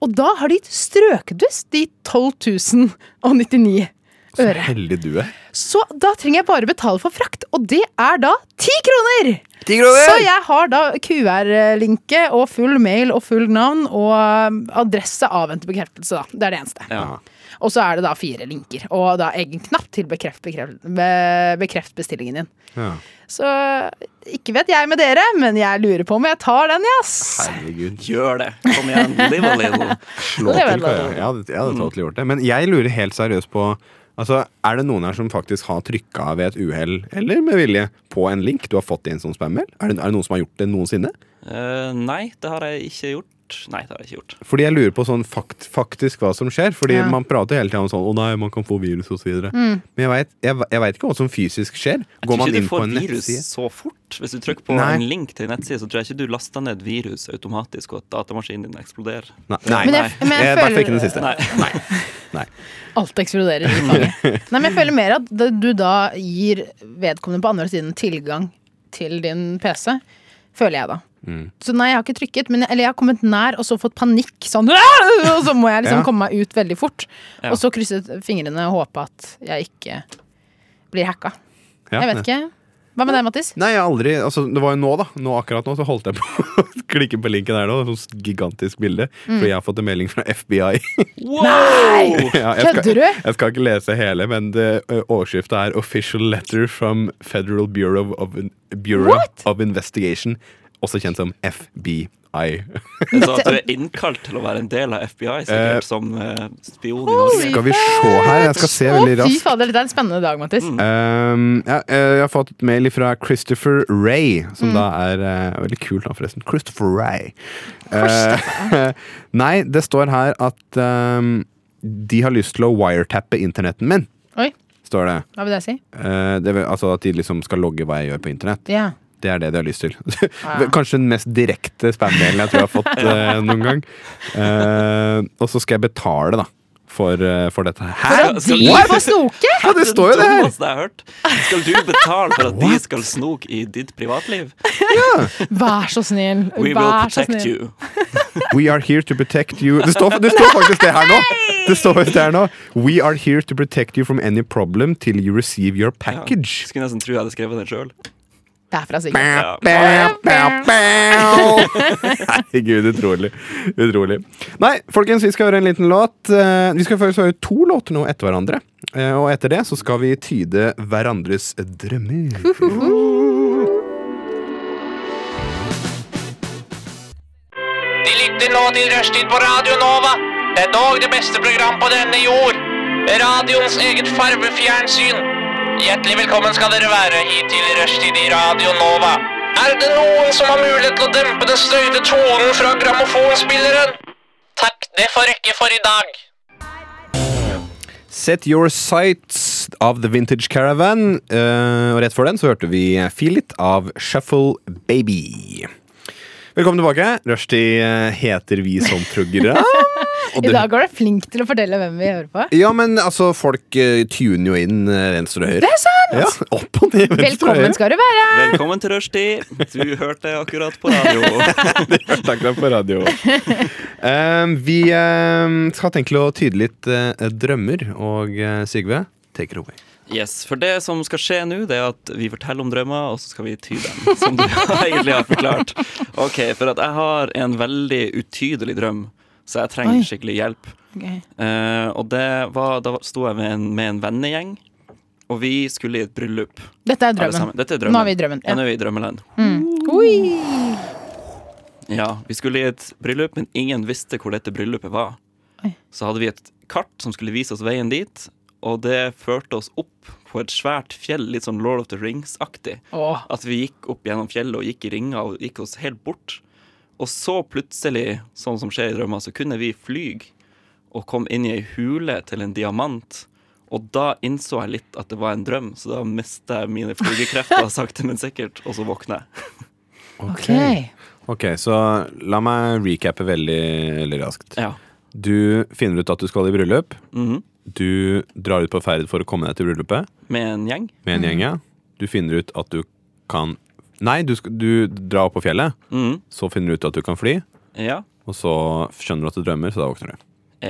Og da har de strøket ut de 12 099 Så øre. heldig du er. Så da trenger jeg bare betale for frakt, og det er da ti kroner! Så jeg har da QR-linke og full mail og full navn og um, adresse avvente bekreftelse, da. Det er det eneste. Ja. Og så er det da fire linker, og da egen knapp til bekreft, bekreft, be, bekreft bestillingen din. Ja. Så ikke vet jeg med dere, men jeg lurer på om jeg tar den, jass. Herregud. Gjør det! Kom igjen, live a little. Slå Det er til, vel Kaja. lov. Jeg hadde, jeg hadde totally gjort det. Men jeg lurer helt seriøst på Altså, Er det noen her som faktisk har trykka ved et uhell eller med vilje på en link du har fått i en sånn spam-mail? Er, det- er det noen som har gjort det noensinne? Eh, nei, det har jeg ikke gjort. Nei, det har jeg ikke gjort. Fordi jeg lurer på sånn fakt, faktisk hva som skjer. Fordi Ja. Mm. man prater hele tiden om sånn 'Å nei, man kan få virus', og så videre Men jeg vet, jeg, ve- jeg vet ikke hva som fysisk skjer. Går tror man ikke du inn på får en virus nettside? så fort. Hvis du trykker på Nei. en link til en nettside, så tror jeg ikke du laster ned virus automatisk, og at datamaskinen din eksploderer. Nei. nei. Men nei. jeg, men I jeg hvert fall ikke føler den siste. Nei. Alt eksploderer i fanget. <laughs> Nei, men jeg føler mer at det- du da gir vedkommende på andre siden tilgang til din PC. Føler jeg, da. Mm. Så nei, jeg har ikke trykket, men, eller jeg har kommet nær og så fått panikk. Sånn, <laughs> «Åh!» og så må jeg liksom Ja. komme meg ut veldig fort. Ja. Og så krysset fingrene og håpe at jeg ikke blir hacka. Ja, jeg vet nei. ikke. Hva med deg, Mattis? Nei, jeg har aldri altså, Det var jo nå, da. Nå Akkurat nå så holdt jeg på <laughs> å klikke på linken der nå. Det er sånn gigantisk bilde. Mm. For jeg har fått en melding fra FBI. <laughs> Wow! Ja, Kødder du? Jeg skal ikke lese hele, men det, ø, overskriften er 'Official letter from Federal Bureau of, Bureau of Investigation'. Også kjent som FBI. Så at du er innkalt til å være en del av FBI, Eh. sikkert, som eh, spion i Norge. Skal vi se her? Jeg skal se veldig Å, fy raskt. fader, det er en spennende dag, Mattis. Mm. Um, ja, eh, jeg har fått et mail fra Christopher Ray, som da er eh, Veldig kult navn, forresten. Christopher Ray. Eh, <laughs> nei, ehm, det står her at um, de har lyst til å wiretappe internetten min. Oi. står det. Hva vil det si? Eh, det er vel, altså at de liksom skal logge hva jeg gjør på internett. Ja. Det er det de har lyst til. <laughs> Kanskje den mest direkte spam-delen jeg tror jeg har fått eh, noen gang. Eh, og så skal jeg betale, da, for, eh, for dette her. For Hæ? at de What? får snoke! Ja, det står jo det her! dummeste jeg har hørt. Skal du betale for at de skal snoke i ditt privatliv? Vær så snill. We will Vær så protect snill. you. We are here to protect you Det står, det står faktisk det her nå! Det står faktisk det her nå We are here to protect you from any problem till you receive your Ja. package. Skulle nesten tro jeg hadde skrevet den sjøl. Derfra, sikkert. Ja. Bæ, bæ, bæ. Herregud, utrolig. Utrolig. Nei, folkens, vi skal høre en liten låt. Eh, Vi skal faktisk høre to låter nå etter hverandre. Eh, Og etter det så skal vi tyde hverandres drømmer. De lytter nå til Rushtid på Radio Nova. Det er dog det beste program på denne jord. Radioens eget farvefjernsyn. Hjertelig velkommen skal dere være hit til Rushtid i Radio Nova. Er det noen som har mulighet til å dempe den støyte tonen fra grammofonspilleren? Takk, det får rekke for i dag. Set Your Sights av The Vintage Caravan. Eh, og rett før den så hørte vi Filit av Shuffle Baby. Velkommen tilbake. Rushdie eh, heter vi som <laughs> program. Og I det- dag var du flink til å fortelle hvem vi hører på. Ja, men altså, folk eh, tuner jo inn eh, venstre og høyre. Det er sant! Ja, opp og ned, venstre og Velkommen høyre. skal du være! Velkommen til rushtid. Du hørte akkurat på radio. <laughs> Takk deg for radio. Eh, vi eh, skal tenke å tyde litt eh, drømmer, og eh, Sigve, take it away. <laughs> Yes, For det som skal skje nå, det er at vi forteller om drømmer, og så skal vi ty dem. Som du <laughs> egentlig har forklart. Ok, For at jeg har en veldig utydelig drøm, så jeg Oi. trenger skikkelig hjelp. Ok. Eh, og det var, da sto jeg med en, med en vennegjeng, og vi skulle i et bryllup. Dette er alle drømmen. sammen. Dette er drømmen. Nå er vi i drømmen, Ja. ja. Mm. nå er vi i drømmeland. Oi. Ja, Vi skulle i et bryllup, men ingen visste hvor dette bryllupet var. Oi. Så hadde vi et kart som skulle vise oss veien dit, og det førte oss opp på et svært fjell, litt sånn Lord of the Rings-aktig. Åh. At vi gikk opp gjennom fjellet og gikk i ringer og gikk oss helt bort. Og så plutselig, sånn som skjer i drømmer, så kunne vi flyg og kom inn i ei hule til en diamant. Og da innså jeg litt at det var en drøm, så da mista jeg mine <laughs> flygekrefter sakte, men sikkert, og så våkna jeg. Ok. Ok, så la meg recappe veldig, veldig raskt. Ja. Du finner ut at du skal i bryllup. Mhm. Du drar ut på ferd for å komme deg til bryllupet Med en gjeng. med Mhm. en gjeng. ja. Du finner ut at du kan Nei, du, sk- du drar opp på fjellet. Mhm. Så finner du ut at du kan fly, Ja. og så skjønner du at du drømmer, så da våkner du.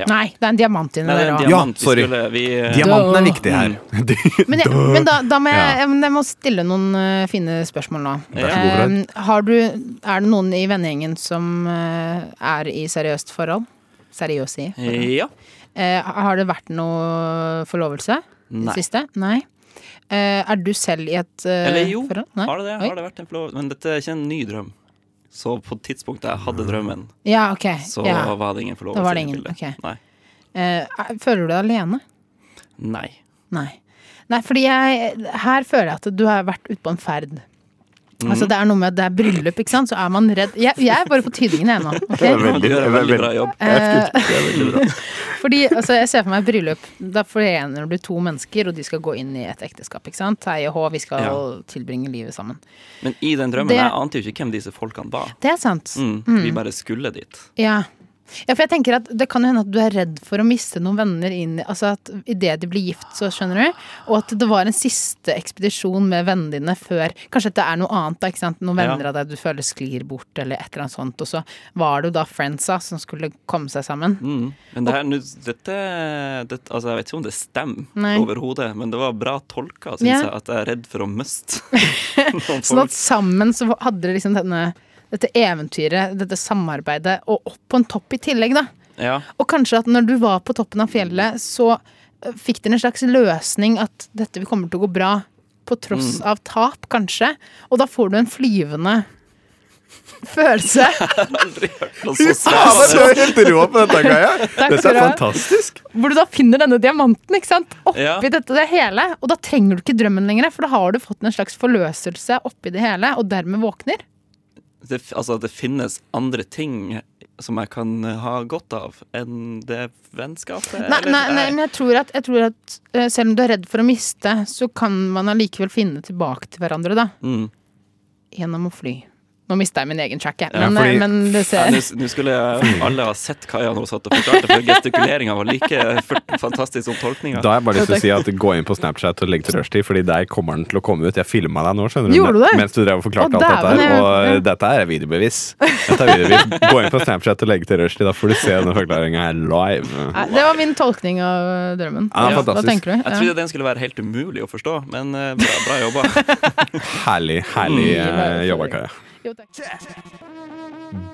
Nei, det er en diamant inni Nei, det er der en òg. diamant. sorry. Vi skulle, vi, eh, Diamanten er Duh. viktig her. <laughs> Mm. Men, jeg, men da, da må jeg, Ja. jeg, men jeg må stille noen eh, fine spørsmål nå. Vær så god, Fred. Eh, har du, er det noen i vennegjengen som eh, er i seriøst forhold? Seriøs i? Ja. Eh, har det vært noe forlovelse? i Nei. Det siste? Nei. Eh, er du selv i et eh, Eller jo, forhold? Nei? har det det? Oi. Har det vært en forlovelse? Men dette er ikke en ny drøm. Så på tidspunktet jeg hadde drømmen, Ja, ok. så Ja. var det ingen Da forlovelse. var det i ingen, bildet. ok. Nei. Eh, er- føler du deg alene? Nei. Nei. Nei, fordi jeg, her føler jeg at du har vært ute på en ferd. Altså Det er noe med at det er bryllup, ikke sant? så er man redd. Jeg, jeg er bare på tydningen <laughs> jeg nå. ok? Eh, Du gjør en veldig bra jobb. <laughs> Fordi altså, Jeg ser for meg et bryllup. Da forener du to mennesker, og de skal gå inn i et ekteskap. ikke sant? Hei og hå, vi skal Ja. tilbringe livet sammen. Men i den drømmen, Det- jeg ante jo ikke hvem disse folkene var. Det er sant. Mm. Vi bare skulle dit. Ja. ja, for jeg tenker at det kan jo hende at du er redd for å miste noen venner inn i- Altså at idet de blir gift, så skjønner du. Og at det var en siste ekspedisjon med vennene dine før Kanskje at det er noe annet, da. ikke sant? Noen Ja. venner av deg du føler sklir bort, eller et eller annet sånt. Og så var det jo da friendsa som skulle komme seg sammen. Mm. Men det her, nå- dette, dette Altså, jeg vet ikke om det stemmer Nei. overhodet, men det var bra tolka, syns Ja. jeg, at jeg er redd for å <laughs> miste <laughs> noen Sånn at folk. sammen så hadde dere liksom denne, dette eventyret, dette samarbeidet, og opp på en topp i tillegg, da. Ja. <laughs> Og kanskje at når du var på toppen av fjellet, så eh, fikk dere en slags løsning at dette kommer til å gå bra, på tross av tap, kanskje. Og da får du en flyvende følelse. Aldri hørt noe så Ja, men spennende. du er helt rå på dette, Kaja. Takk Dette skal er du ha. fantastisk. Hvor du da finner denne diamanten ikke sant? oppi Ja. dette det hele. Og da trenger du ikke drømmen lenger, for da har du fått en slags forløselse oppi det hele, og dermed våkner. det, altså, at det finnes andre ting som jeg kan ha godt av enn det vennskapet. Nei, Eh, eller- nei, nei, men jeg tror, at, jeg tror at eh, selv om du er redd for å miste, så kan man allikevel finne tilbake til hverandre, da. Mm. Gjennom å fly. Nå mista jeg min egen track, jeg. Ja, Men, fordi- eh, men du Ja, ser. Nå nå skulle alle ha sett Kaja når hun satt og forklarte, for gestikuleringa var like f- fantastisk som tolkninga. Da har jeg bare lyst til å si at gå inn på Snapchat og legg til rushtid, fordi der kommer den til å komme ut. Jeg filma deg nå, skjønner du. Gjorde du det? Mens du drev og forklarte Å, alt dette her. dæven, jeg- Og ja. dette her er videobevis. Dette er videobevis. Gå inn på Snapchat og legg til rushtid, da får du se denne forklaringa her live. Nei, Det var min tolkning av eh, drømmen. Ja, det er Hva fantastisk. tenker du? Jeg Ja. trodde den skulle være helt umulig å forstå, men eh, bra, bra jobba. Herlig, herlig Mm, eh, jobba, Kaja. Jo, takk.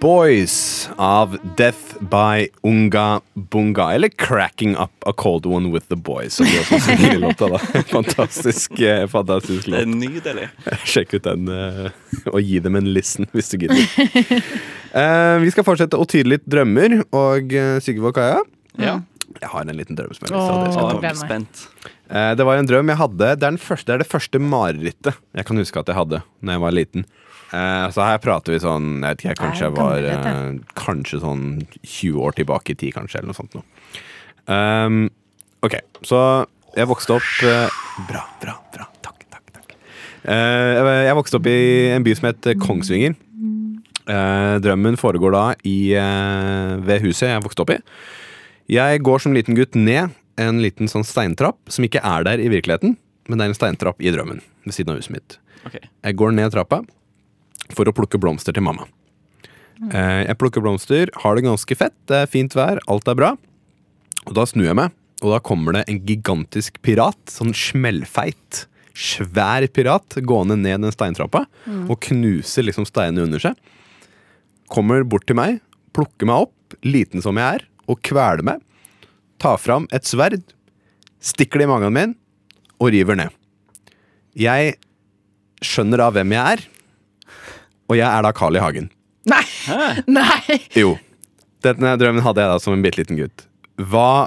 Boys av Death by Unga Bunga. Eller Cracking Up A Cold One With The Boys, som de også sier i låta. da. <laughs> Fantastisk, eh, fantastisk Det låt. er nydelig. <laughs> Sjekk ut den eh, og gi dem en listen <laughs> hvis du gidder. Eh, vi skal fortsette å tyde litt drømmer. Og uh, Sigvald Kaja, Ja. jeg har en liten drømmesmelding. så det Å, skal jeg jeg ta med. blir spent. Eh, det var en drøm jeg hadde. Det er, den første, det er det første marerittet jeg kan huske at jeg hadde Når jeg var liten. Eh, så her prater vi sånn Jeg vet ikke, jeg, kanskje jeg var Det er gammelt, eh, Kanskje sånn 20 år tilbake i tid, kanskje, eller noe sånt noe. Ehm, ok, så jeg vokste opp eh, Bra, bra, bra. Takk, takk. takk. Eh, jeg- jeg vokste opp i en by som het Kongsvinger. Eh, drømmen foregår da i, eh, ved huset jeg vokste opp i. Jeg går som liten gutt ned en liten sånn steintrapp som ikke er der i virkeligheten, men det er en steintrapp i drømmen ved siden av huset mitt. Ok. Jeg går ned trappa for å plukke blomster til mamma. Eh, Jeg plukker blomster, har det ganske fett, det er fint vær, alt er bra. Og da snur jeg meg, og da kommer det en gigantisk pirat, sånn smellfeit, svær pirat, gående ned den steintrappa og knuser liksom steinene under seg. Kommer bort til meg, plukker meg opp, liten som jeg er, og kveler meg. Tar fram et sverd, stikker det i magen min og river ned. Jeg skjønner da hvem jeg er, og jeg er da Carl I. Hagen. Nei! <laughs> Nei! Jo. Denne drømmen hadde jeg da som en bitte liten gutt. Hva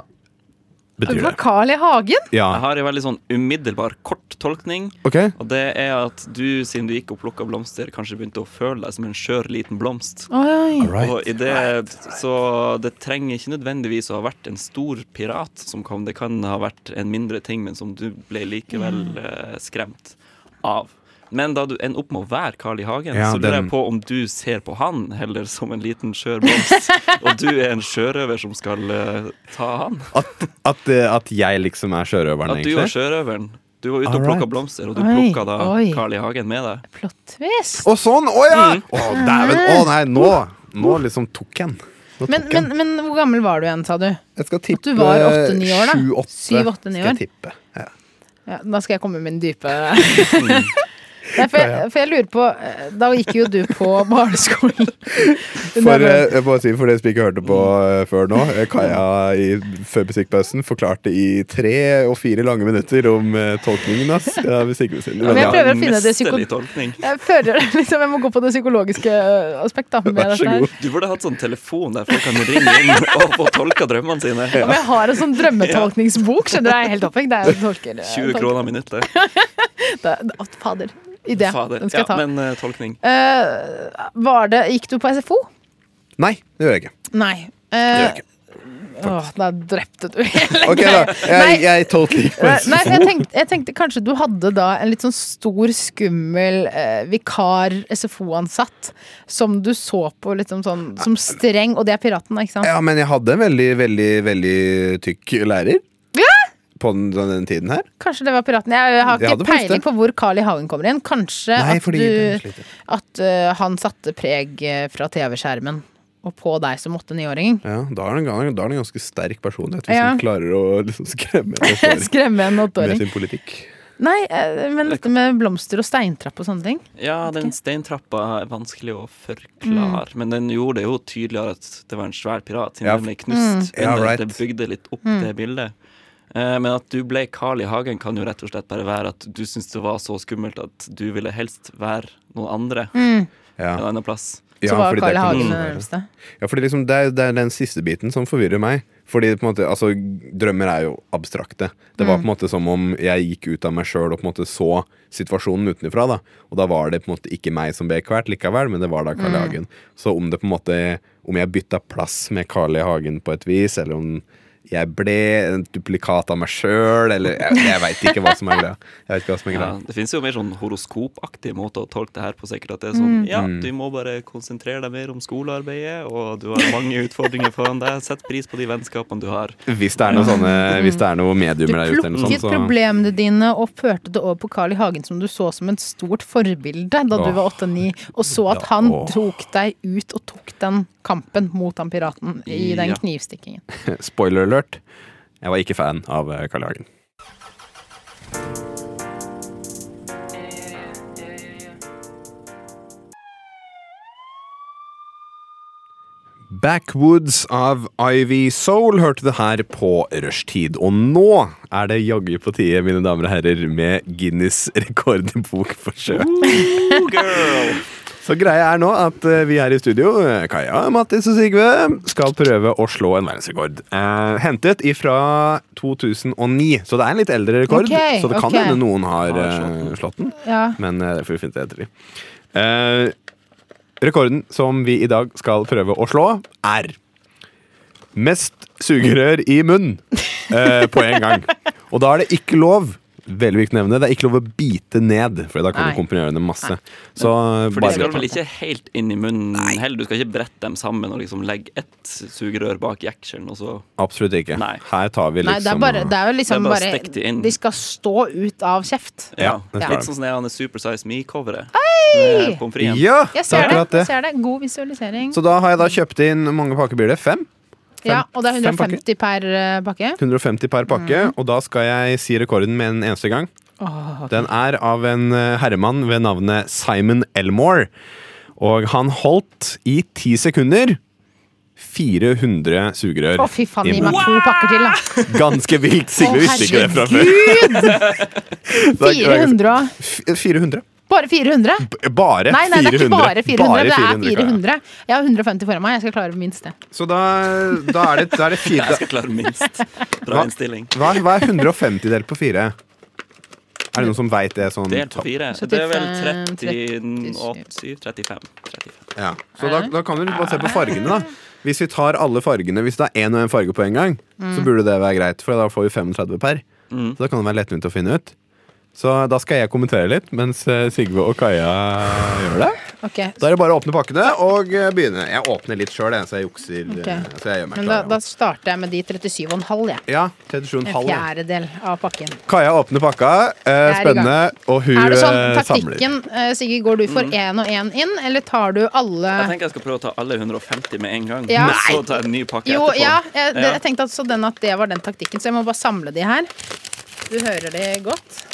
Det betyr var det? Carl i Hagen? Ja, Jeg har en veldig sånn umiddelbar, kort tolkning. ok. Og det er at du, siden du gikk og plukka blomster, kanskje begynte å føle deg som en skjør liten blomst. Oi. Og i det, Så det trenger ikke nødvendigvis å ha vært en stor pirat som kom. Det kan ha vært en mindre ting, men som du ble likevel eh, skremt av. Men da du ender opp med å være Carl I. Hagen, Ja, så lurer den- jeg på om du ser på han heller som en liten skjør <laughs> blomst, og du er en sjørøver som skal eh, ta han. At, at, eh, at jeg liksom er sjørøveren, At du var egentlig? sjørøveren. Du var ute og Alright. plukka blomster, og du Oi, plukka da oi. Carl I. Hagen med deg. Flott twist. Å, sånn! Å ja! Å, dæven! Å nei, nå Nå liksom tok jeg den. Nå Men, tok jeg men, den. men hvor gammel var du igjen, sa du? Jeg skal tippe du var åtte-ni år, da. sju-åtte. Syv-åtte-ni Skal jeg år. tippe. Ja. Ja, da skal jeg komme med min dype Nei, for, jeg, for jeg lurer på eh, Da gikk jo du på barneskolen. For, eh, jeg må bare si, for dere som ikke hørte på eh, før nå, eh, Kaja i, før musikkpausen forklarte i tre og fire lange minutter om eh, tolkningen ass, av musikkmusikken. Men jeg Veldig bra. prøver å finne det Mesterlig psyko- tolkning. Jeg føler <laughs> liksom jeg må gå på det psykologiske eh, aspekt. da med Vær så dette her. god. Du burde hatt sånn telefon der folk kan ringe inn og få tolka drømmene sine. Ja, men jeg har en sånn drømmetolkningsbok, skjønner du. Jeg er helt opphengt. Det er jo Eh, en tolker. 20 kroner <laughs> minuttet. kroner. Å, fader. Idé. Fader. Den skal jeg ja, ta. men eh, tolkning. Eh, var det Gikk du på SFO? Nei, det gjør jeg ikke. Nei. Det gjør Uh, jeg ikke. Åh, da drepte du <laughs> hele Ok, greia. da. Jeg, Eh, Nei. Eh, jeg tolker ikke på Nei, nei, jeg, SFO. tenkte, jeg tenkte kanskje du hadde da en litt sånn stor, skummel eh, vikar-SFO-ansatt som du så på litt sånn, sånn som streng, og det er piraten, da, ikke sant? Ja, men jeg hadde en veldig, veldig, veldig tykk lærer. På den, den tiden her. Kanskje det var piraten. Jeg, jeg har Jeg ikke hadde faktisk peiling det. på hvor Carl I. Hagen kommer inn. Kanskje Nei, at, fordi den du, sliter. at eh, han satte preg eh, fra TV-skjermen og på deg som <laughs> åtte-niåring. Ja, da er det en, gan- da er det en ganske sterk personlighet hvis Ja. man klarer å liksom skremme <laughs> en åtteåring Skremme en med åtteåring. sin politikk. Nei, eh, men dette med blomster og steintrapp og sånne ting. Ja, den steintrappa er vanskelig å Mm. forklare, men den gjorde det jo tydeligere at det var en svær pirat, siden Ja, den ble knust Ja, under at right. det bygde litt opp Mm. det bildet. Eh, Men at du ble Carl I. Hagen, kan jo rett og slett bare være at Mm. du syntes det var så skummelt at du ville helst være noen andre Ja. en annen plass. Ja, så var fordi det Carl kan Hagen eh, også den være. nærmeste. Ja, fordi liksom det, er, det er den siste biten som forvirrer meg. Fordi på en måte, altså, Drømmer er jo abstrakte. Det var på en måte som om jeg gikk ut av meg sjøl og på en måte så situasjonen utenfra. Da. Og da var det på en måte ikke meg som ble kvert likevel, men det var da Carl I. Hagen. Så om det på en måte Om jeg bytta plass med Carl I. Hagen på et vis, eller om jeg ble en duplikat av meg sjøl, eller Jeg, jeg veit ikke hva som er greia. Jeg vet ikke hva som er Ja, greia. det finnes jo mer sånn horoskopaktige måter å tolke det her på. sikkert At det er sånn, ja, Mm. du må bare konsentrere deg mer om skolearbeidet, og du har mange utfordringer foran deg. Sett pris på de vennskapene du har. Hvis det er noe sånne Hvis det er noe Du mediumer der ute, eller noe plukket sånt, så problemene dine og førte det over på Carl I. Hagen, som du så som et stort forbilde da du Åh. var 8-9, og så at han Åh. tok deg ut og tok den kampen mot han piraten i den Ja. knivstikkingen. Spoiler alert. Jeg var ikke fan av eh, Carl I. Hagen. Backwoods av Ivy Soul hørte det her på rushtid. Og nå er det jaggu på tide, mine damer og herrer, med Guinness rekordbokforsøk. Oh, girl! <laughs> Så greia er nå at eh, vi her i studio, eh, Kaja, Mattis og Sigve, skal prøve å slå en verdensrekord. Eh, hentet ifra 2009, så det er en litt eldre rekord. Ok, så det kan ok. hende noen har Har eh, slått den. slått den, Ja. men eh, det får vi finne ut etter. Eh, rekorden som vi i dag skal prøve å slå, er mest sugerør i munn eh, på en gang. Og da er det ikke lov. Veldig viktig å nevne. Det er ikke lov å bite ned, for da kan du Nei. komprimere dem masse. Så, For de bare- skal vel ikke helt inn i munnen heller? Du skal ikke brette dem sammen og liksom legge ett sugerør bak jekselen, og så Absolutt ikke. Nei. Her tar vi liksom Nei, det er, bare, det er jo liksom Det er bare bare, stekt det inn. De skal stå ut av kjeft. Ja, det Ja. skal Litt vi. sånn som det er Super Size Me-coveret. Med pommes fritesen. Ja, Jeg det er ser det. akkurat jeg ser det. God visualisering. Så da har jeg da kjøpt inn hvor mange pakker blir det? Fem? ja, og det er fem pakker. 150 per eh, pakke. 150 per pakke, og da skal jeg si rekorden med en eneste gang. Mm. Åh, Den er av en eh, herremann ved navnet Simon Elmore. Og han holdt i ti sekunder 400 sugerør. Å, fy faen, i gi meg munnen. to pakker til, da. Ganske vilt! Sigve Å, visste ikke <laughs> det fra før. Det er- det er ganske- 400 og F- 400. Bare 400? B- Bare 400. Nei, nei, det er ikke bare 400. det er 400, Kaja. 400. Jeg har 150 foran meg. Jeg skal klare minst det. Så da, da er det, da er det fire Jeg skal klare minst. Bra Hva? innstilling. Hva, hva er 150 delt på fire? Er det noen som veit det? Sånn, Delt på fire. Det er vel 37 35. 35. Ja. Så da, da kan du bare se på fargene, da. Hvis vi tar alle fargene, hvis det er én og én farge på en gang, så burde det være greit, for da får vi 35 per. Så da kan det være lettvint å finne ut. Så da skal jeg kommentere litt, mens eh, Sigve og Kaja gjør det. Ok, Da er det bare å åpne pakkene og eh, begynne. Jeg åpner litt sjøl, så jeg jukser. eh, Ok. Så jeg gjør meg Men da, klar. da starter jeg med de 37,5, jeg. Ja, En 37,5. ja. fjerdedel av pakken. Kaja åpner pakka. Eh, Jeg er i gang. spennende. Og hun Er det eh, sånn samler. Mm. taktikken, eh, Sigurd, går du for én og én inn, eller tar du Jeg alle tenker jeg skal prøve å ta alle 150 med en gang. Ja. Så ta en ny pakke Jo, etterpå. ja. Jeg, det, Ja. jeg tenkte altså den at det var den taktikken, så jeg må bare samle de her. Du hører det godt.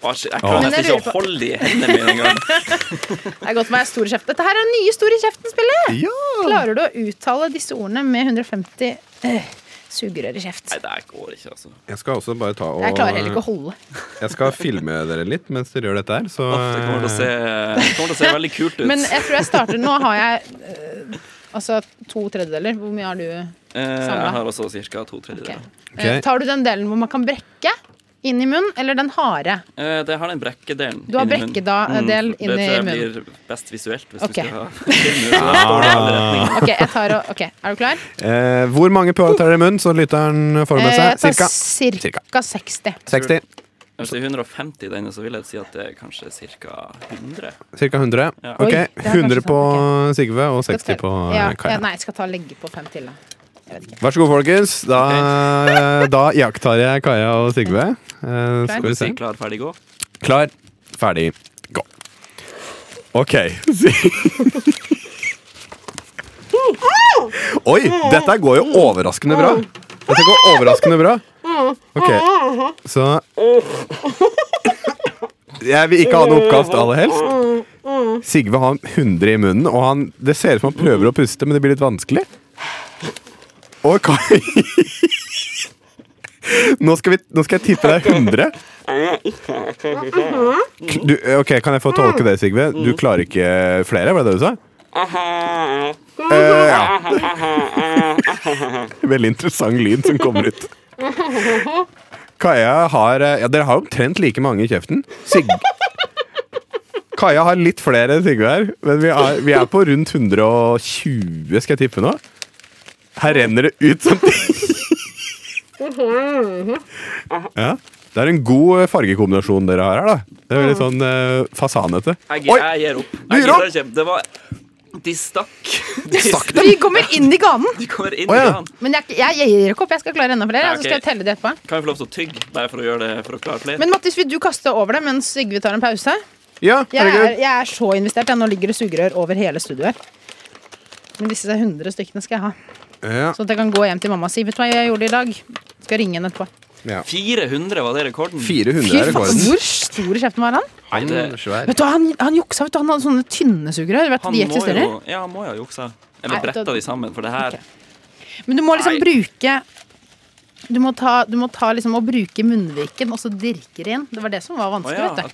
Å, shit, Jeg Åh. klarer Men jeg nesten lurer ikke på- å holde i hendene mine <laughs> engang. Det er godt med store kjeft. Dette her er nye store kjeften-spillet! Ja. Klarer du å uttale disse ordene med 150 øh, sugerør i kjeft? Nei, det her går ikke, altså. Jeg skal også bare ta og Jeg klarer heller ikke å holde. Jeg skal filme dere litt mens dere gjør dette her. Så, Uff, Det kommer til å se, det kommer til å se veldig kult ut. Men jeg tror jeg starter Nå har jeg øh, altså to tredjedeler. Hvor mye har du? Eh, Samla. Jeg har også ca. to Ok. tredjedeler. Ok. Eh, Tar du den delen hvor man kan brekke inn i munnen, eller den harde? Eh, Det har den brekkedelen. Du har inni munnen. Mm, brekkedel inni Det tror jeg munnen. blir best visuelt. Hvis Ok. du skal ha <laughs> film ut, så står det i alle retninger. Ok, jeg tar og, ok, Er du klar? Eh, hvor mange pøler tar dere i munnen, så lytteren får med Eh, seg? Jeg tar Cirka Cirka. ca. 60. 60. Hvis det er 150 i denne, så vil jeg si at det er kanskje ca. 100. Cirka 100. Ja. Ok, Oi, det er 100 kanskje sånn, på Sigve og 60 på eh, ja, ja, Kaja. Nei, jeg skal ta legge på fem til, da. Vær så god, folkens. <laughs> Da, eh, da iakttar jeg Kaja og Sigve. Eh, skal vi se. Si klar, ferdig, gå. Klar, ferdig, gå. Ok. Si- Oi, dette går jo overraskende bra. Dette går overraskende bra. Ok, så Jeg vil ikke ha noe oppkast aller helst. Sigve har 100 i munnen, og han, det ser ut som han prøver å puste, men det blir litt vanskelig. Og Kai <laughs> Nå skal, vi, nå skal jeg tippe deg 100. eh, Du, ok, Kan jeg få tolke det, Sigve? Du klarer ikke flere, var det det du sa? Eh, ja. <laughs> Veldig interessant lyd som kommer ut. Kaja har eh, Ja, dere har omtrent like mange i kjeften. Sig Kaja har litt flere enn Sigve her, men vi er, vi er på rundt 120, skal jeg tippe nå. Her renner det ut samtidig. Ja. Det er en god eh, fargekombinasjon dere har her. da Det er Veldig sånn eh, fasanete. Jeg, Oi! jeg gir opp. Du Jeg gir gidder opp? ikke. Det var De stakk. De, Stakk Vi kommer inn i ganen. de kommer inn Å, i ja. ganen. Men jeg, jeg, jeg gir ikke opp. Jeg skal klare enda flere. Ja, Så skal ok. jeg telle de etterpå. Kan jeg få lov til å tygge, bare for å gjøre det for å klare flere? Men Mattis, vil du kaste over det mens Sigve tar en pause? Ja, Jeg er, herregud. jeg er så investert. Ja. Nå ligger det sugerør over hele studioet her. Men disse 100 stykkene skal jeg ha. Ja, Sånn at jeg kan gå hjem til mamma og si Vet du hva jeg gjorde i dag. Skal ringe henne etterpå. 400 var det rekorden. 400 Fy er faen, rekorden. hvor stor i kjeften var han? Nei, det, Svær. Vet du, hva, han, han juksa. Vet du, han hadde sånne tynne sugerør. Vet du, han de må eksisterer. jo Ja, han må jo ha juksa. Nei, Eller bretta da- de sammen, for det her Men du må liksom Nei. bruke du må, ta, du må ta liksom og bruke munnviken og så dirke det inn. Det var det som var Å vanskelig. ja. vet du.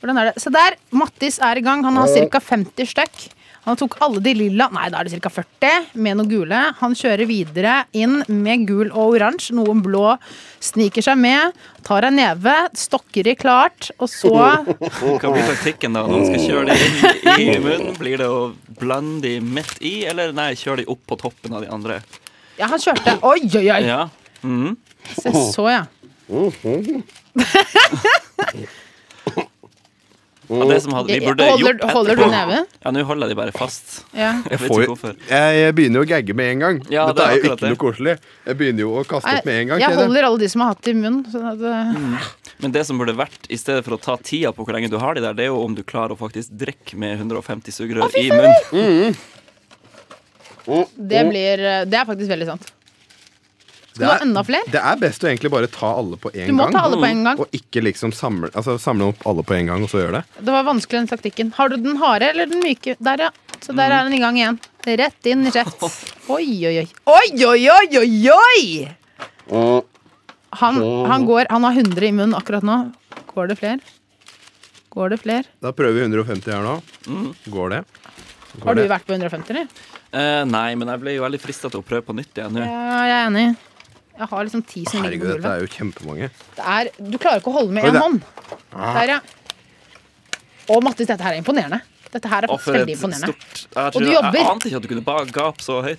Hvordan er det? Se der, Mattis er i gang. Han har ca. 50 stykk. Han tok alle de lilla, nei da er det ca. 40, med noen gule. Han kjører videre inn med gul og oransje. Noen blå sniker seg med. Tar ei neve, stokker i klart, og så <laughs> Hva blir taktikken da? Når man skal kjøre det inn i munnen, blir det å blande de midt i, eller nei, kjøre de opp på toppen av de andre? Ja, han kjørte. Oi, oi, oi! Ja. Mhm. Se så, ja. Og det som hadde, vi burde Holder- gjort holder du etterpå- neven? Ja, nå holder jeg de bare fast. ja. Jeg vet Får, ikke hvorfor. jeg, jeg begynner jo å gagge med en gang. Ja, Dette det er er jo akkurat ikke det. noe koselig. Jeg begynner jo å kaste opp med en gang. Jeg kjenner jeg. holder alle de som har hatt det i munnen. Sånn at, eh, Mm. Men det som burde vært, i stedet for å ta tida på hvor lenge du har de der, det er jo om du klarer å faktisk drikke med 150 sugerør i munnen. Det, blir, eh, det er faktisk veldig sant. Skal du ha enda flere? det er best å egentlig bare ta alle på Du en må gang. ta alle på en gang. Og ikke liksom samle, altså, samle opp alle på en gang, og så gjøre det. Det var vanskelig den taktikken. Har du den harde eller den myke? Der, ja. Så der er den i gang igjen. Rett inn, rett. Oi, oi, oi. Oi, oi, oi, oi, oi! Han, han går Han har 100 i munnen akkurat nå. Går det flere? Går det flere? Da prøver vi 150 her nå. Mm. Går det? Går Har du det? vært på 150, eller? Eh, nei, men jeg ble jo veldig frista til å prøve på nytt igjen nå. Ja, jeg er enig. Jeg har liksom ti som ligger Herregud, på dette gulvet. er jo kjempemange. Det er, du klarer ikke å holde med Oi, én det- hånd. Der, ja. Å, Mattis, dette her er imponerende. Dette her er Og faktisk for et veldig imponerende. stort jeg, Og du tror- jeg jobber. ante ikke at du kunne bare gape så høyt.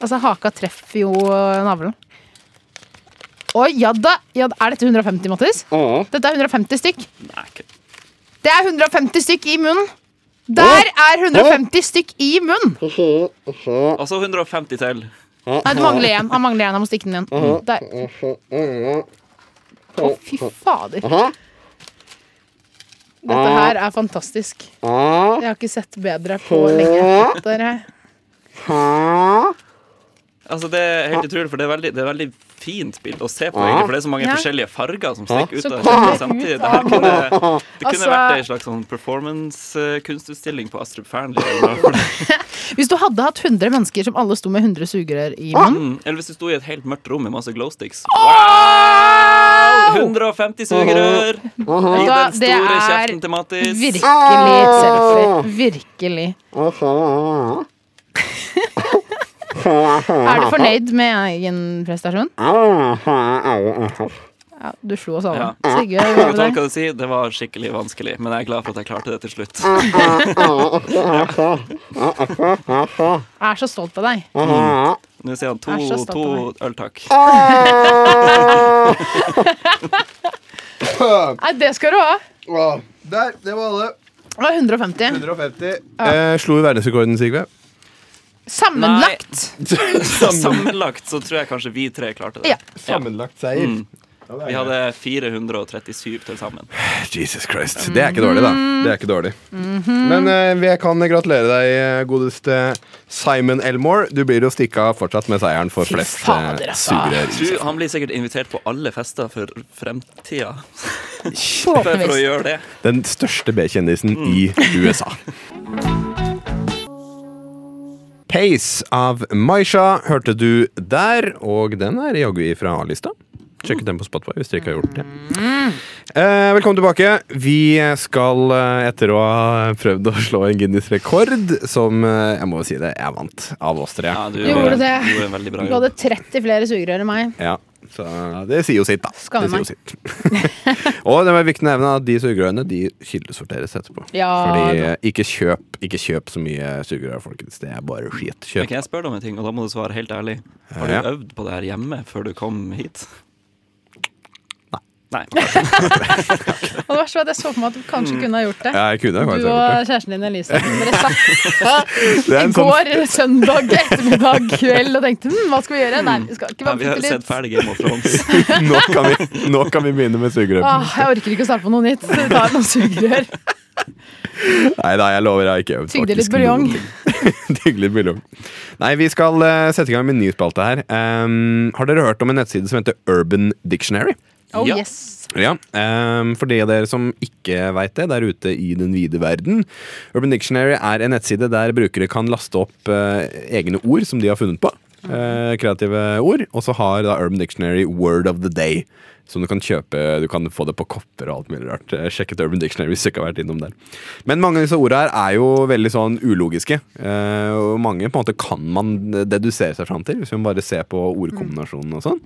Altså, haka treffer jo navlen. Oi, ja da! Ja, da. er dette 150, Mattis? Dette er 150 stykk. Nei, ok. Det er 150 stykk i munnen! Der er 150 stykk i munnen! Og så 150 til. Nei, det mangler én. Han mangler én. Han må stikke den igjen. Der. Å, fy fader. Dette her er fantastisk. Jeg har ikke sett bedre på lenge. Dere. Altså, Det er helt utrolig, for det er veldig, det er veldig fint bilde å se på, egentlig, for det er så mange Ja. forskjellige farger som stikker ut Så av kommer det det samtidig. ut Det, her av- kunne, det kunne <laughs> Altså- vært ei slags sånn performance-kunstutstilling på Astrup Fearnley. Eller, noe. Hvis du hadde hatt 100 mennesker som alle sto med 100 sugerør i munnen Mm, eller hvis du sto i et helt mørkt rom med masse glowsticks. Wow! 150 sugerør i den Da, det store er kjeften til Mattis. Virkelig selfie. Virkelig. Er du fornøyd med egen prestasjon? Ah. Ja, du slo oss alle. Ja. Sigurd, <laughs> Vet du hva med hva jeg deg? kan si? Det var skikkelig vanskelig, men jeg er glad for at jeg klarte det til slutt. Jeg er så stolt av deg. Nå sier han to, Jeg er så stolt to av øl, takk. <laughs> Nei, det skal du ha. Åh, Der, det var alle. Det var 150. 150. Eh, slo jo verdensrekorden, Sigve. Sammenlagt. Sammenlagt så tror jeg kanskje vi tre klarte det. Ja. Sammenlagt seier. Mm. Ja, det er Vi hadde 437 til sammen. Jesus Christ. Det er ikke dårlig, da. Det er ikke dårlig. Men eh, jeg kan gratulere deg, eh, godeste Simon Elmore. Du blir jo stikka fortsatt med seieren for Fy flest fader, eh, altså. sugerør. Du, han blir sikkert invitert på alle fester for fremtida. Bare for å Forhåpentligvis. gjøre det. Den største B-kjendisen i USA. Pace av Maisha hørte du der, og den er jaggu ifra A-lista. Sjekk ut den på Spotify hvis dere ikke har gjort det. Eh, velkommen tilbake. Vi skal, eh, etter å ha prøvd å slå en Guinness-rekord, som eh, jeg må jo si det, jeg vant av oss tre. Ja, du Gjorde det. du gjorde en veldig bra Du jobb. hadde 30 flere sugerør enn meg. Ja, så det sier jo sitt, da. Skammer det sier jo sitt. <laughs> og det var viktig å nevne at de sugerørene de kildesorteres etterpå. Ja, Fordi eh, ikke kjøp, ikke kjøp så mye sugerør, folkens. Det er bare Men skit. Kjøp. kan jeg spørre deg om en ting, og da må du svare helt ærlig. Har Ja. du øvd på det her hjemme før du kom hit? <laughs> Nei. Og det verste var at jeg så for meg at du kanskje kunne ha gjort det. Mm. Ja, jeg kunne Du faktisk og gjort det. kjæresten din <laughs> Elise dere satt Det er i en sånn går søndag ettermiddag kveld og tenkte hm, hva skal vi gjøre? Nei, vi skal ikke Nei, bare vi har putte sett litt ferdig Game of Thrones. <laughs> nå kan, vi, nå kan vi begynne med sugerør. Åh, Ah, Jeg orker ikke å starte på noe nytt, så vi tar noen sugerør. <laughs> Nei da, jeg lover, jeg har ikke øvd. Tygde litt faktisk buljong. noen ting. <laughs> Tygde litt buljong. Nei, vi skal eh, sette i gang med en ny spalte her. Ehm, har dere hørt om en nettside som heter Urban Dictionary? Oh Ja. yes. Ja, ehm, for de av dere som ikke veit det, der ute i den vide verden. Urban Dictionary er en nettside der brukere kan laste opp eh, egne ord som de har funnet på. eh, kreative ord. Og så har da Urban Dictionary Word of the Day. Som du kan kjøpe, du kan få det på kopper og alt mulig rart. Eh, Sjekk ut Urban Dictionary hvis du ikke har vært innom der. Men mange av disse orda her er jo veldig sånn ulogiske. eh, og mange på en måte kan man dedusere seg fram til, hvis man bare ser på ordkombinasjonen og sånn.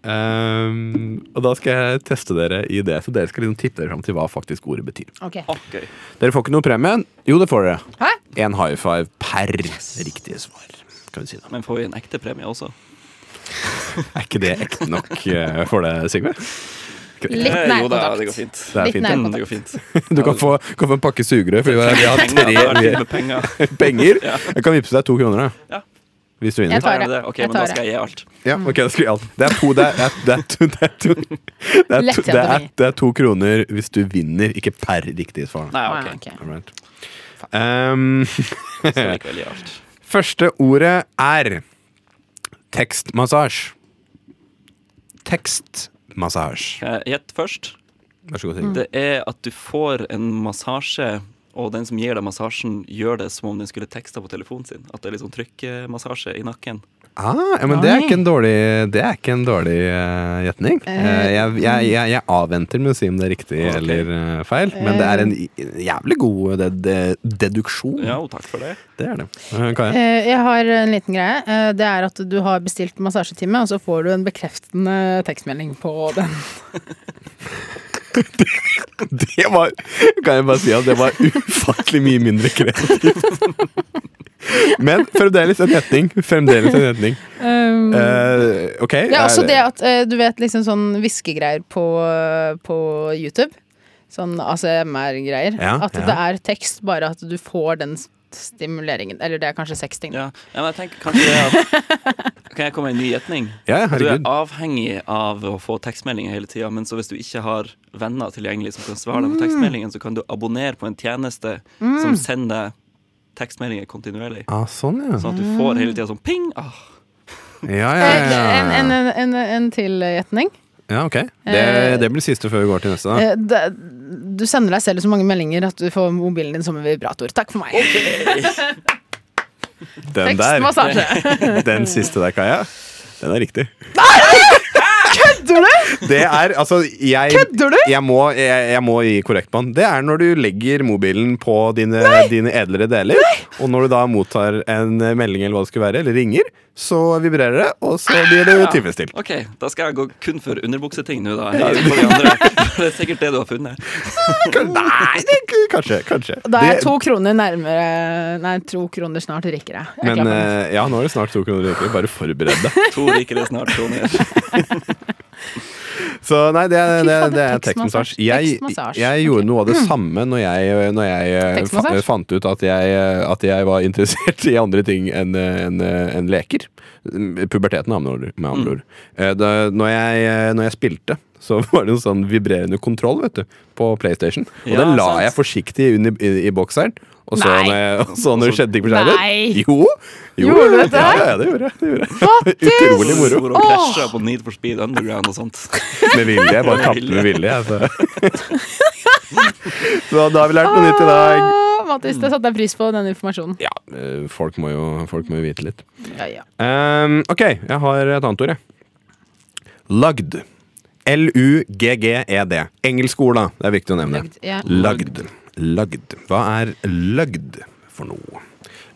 Ehm, og da skal jeg teste dere i det, så dere skal liksom tippe dere fram til hva faktisk ordet betyr. Ok. Å, gøy. Dere får ikke noe premie. Jo, det får dere. Hæ? En high five per riktige svar. Kan vi si det. Men får vi en ekte premie også? Er ikke det ekte nok eh, for det, Sigve? Litt Eh, Jo da, det går nærkontakt. fint. Det er Litt fint. Mm, nærkontakt. det går fint. <laughs> <laughs> Du kan få, kan få en pakke sugerør, for vi har, <laughs> vi har Penger, det har vært litt tre med penger. penger. Jeg kan vippse deg to kroner, da. Ja. Hvis du vinner. Jeg tar Er det det? det. Ok, Jeg men da tar skal jeg gi alt. Ja, ok, da skal vi alt. Det er to Det er, det er, to, det er, to, det er, to, Lett det er, gjennomgang. det er to kroner hvis du vinner, ikke per riktige svar. Nei, Ah, ok. ok. Alright. Um, Skal likevel gi alt. <laughs> Første ordet er tekstmassasje. Tekstmassasje. Kan jeg Gjett først. Vær så god, Sigrid. Det er at du får en massasje, og den som gir deg massasjen, gjør det som om den skulle teksta på telefonen sin. At det er litt sånn trykkmassasje i nakken. Ah, ja, men det er ikke en dårlig Det er ikke en dårlig eh, gjetning. Eh, jeg, jeg, jeg, jeg avventer med å si om det er riktig Ok. eller eh, feil, men det er en i- jævlig god eh, det, det, deduksjon. Ja, og takk for det. Det er det. Eh, Kaja? Eh, Jeg har en liten greie. Eh, Det er at du har bestilt massasjetime, og så får du en bekreftende tekstmelding på den. Det var Kan jeg bare si at det var ufattelig mye mindre kreativt. Men fremdeles en gjetning. Fremdeles en gjetning. <laughs> Um, Eh, ok. Ja, også er- det at eh, du vet liksom sånn hviskegreier på, eh, på YouTube. Sånn ACMR-greier. Ja, at ja. det er tekst, bare at du får den st- stimuleringen. Eller det er kanskje seks ting. Ja, ja men jeg tenker kanskje det at Kan jeg komme med en ny gjetning? Ja, Du er herregud. avhengig av å få tekstmeldinger hele tida, men så hvis du ikke har venner tilgjengelig som kan svare Mm. deg på tekstmeldingen, så kan du abonnere på en tjeneste som sender deg tekstmeldinger kontinuerlig. Ah, sånn, ja. Sånn at du får hele tida sånn ping! Ah, Ja, ja, Eh, ja. En, en, en, en, en til gjetning. ja ok. Det, det blir siste før vi går til neste. Da. Eh, det- Du sender deg selv så mange meldinger at du får mobilen din som en vibrator. Takk for meg. Den der, <laughs> Tekstmassasje. den siste der, Kaja. Den er riktig. Kødder du?! Det er, altså jeg, Kødder du? Jeg må, jeg, jeg må gi korrekt mann. Det er når du legger mobilen på dine, dine edlere deler, og når du da mottar en melding eller hva det skulle være, eller ringer, så vibrerer det, og så blir det tilfredsstilt. OK, da skal jeg gå kun for underbukseting nå, da. Hei, på de andre. <laughs> For Det er sikkert det du har funnet. Nei, det, kanskje. kanskje. Da er Det- jeg to kroner nærmere Nei, to kroner snart rikker jeg. jeg. er men klar for den. eh, ja, nå er det snart to kroner rikere. Bare forbered deg. To rikere snart kroner. Så nei, det, er- det, Fy fader, er- det er tekstmassasje. tekstmassasje. Jeg, Tekstmassasje. Mm. jeg gjorde noe av det samme når jeg, når jeg eh, fa Tekstmassasje? fant ut at jeg, eh, at jeg var interessert <laughs> i andre ting enn eh, enn, eh, enn leker. Mm, Puberteten, med andre ord. Med Mm. andre ord. Eh, Da, når, jeg, eh, når jeg spilte, så <laughs> var det en sånn vibrerende kontroll vet du, på PlayStation. Og Ja, den la sant. jeg forsiktig inn i, i, i bokseren. Og så, Nei. Altså, når, jeg, <laughs> og så når det skjedde ting på skjermen. Nei. Jo! jo Gjorde du dette ja, her? ja, det gjorde jeg. Det gjorde jeg. Fattis! Utrolig moro. Hvor hun krasja på Need for Speed Underground og sånt. Med vilje. Jeg bare tapte med vilje. Altså. Så da har vi lært noe nytt i dag. Åh, Mattis, det satte jeg pris på, den informasjonen. Ja, eh, folk må jo, folk må jo vite litt. Ja, ja. Ehm, ok, jeg har et annet ord, jeg. Lagd. L-U-G-G-E-D. E Engelsk ord, da. Det er viktig å nevne. Lagd, ja. Lagd. Lagd. Hva er lagd for noe?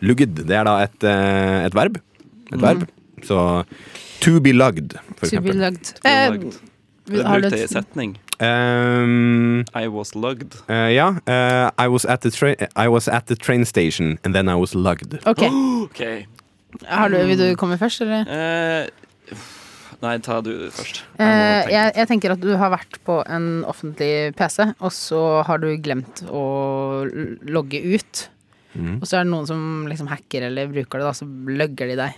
Lugd. Det er da et, eh, et verb. Et verb. Så to be lagd, for To be eksempel. lugged. Eh, Lagd. Det har du brukte jeg i et- setning. Um, I was lugged. eh, ja. eh, I, was at the train- I was at the train station, and then I was lagd. Ok, OK. har du, Vil du komme først, eller? Eh, nei, ta du først. Jeg må Eh, tenke. jeg, jeg tenker at du har vært på en offentlig PC, og så har du glemt å l- logge ut. Mm. Og så er det noen som liksom hacker eller bruker det, da, så lugger de deg.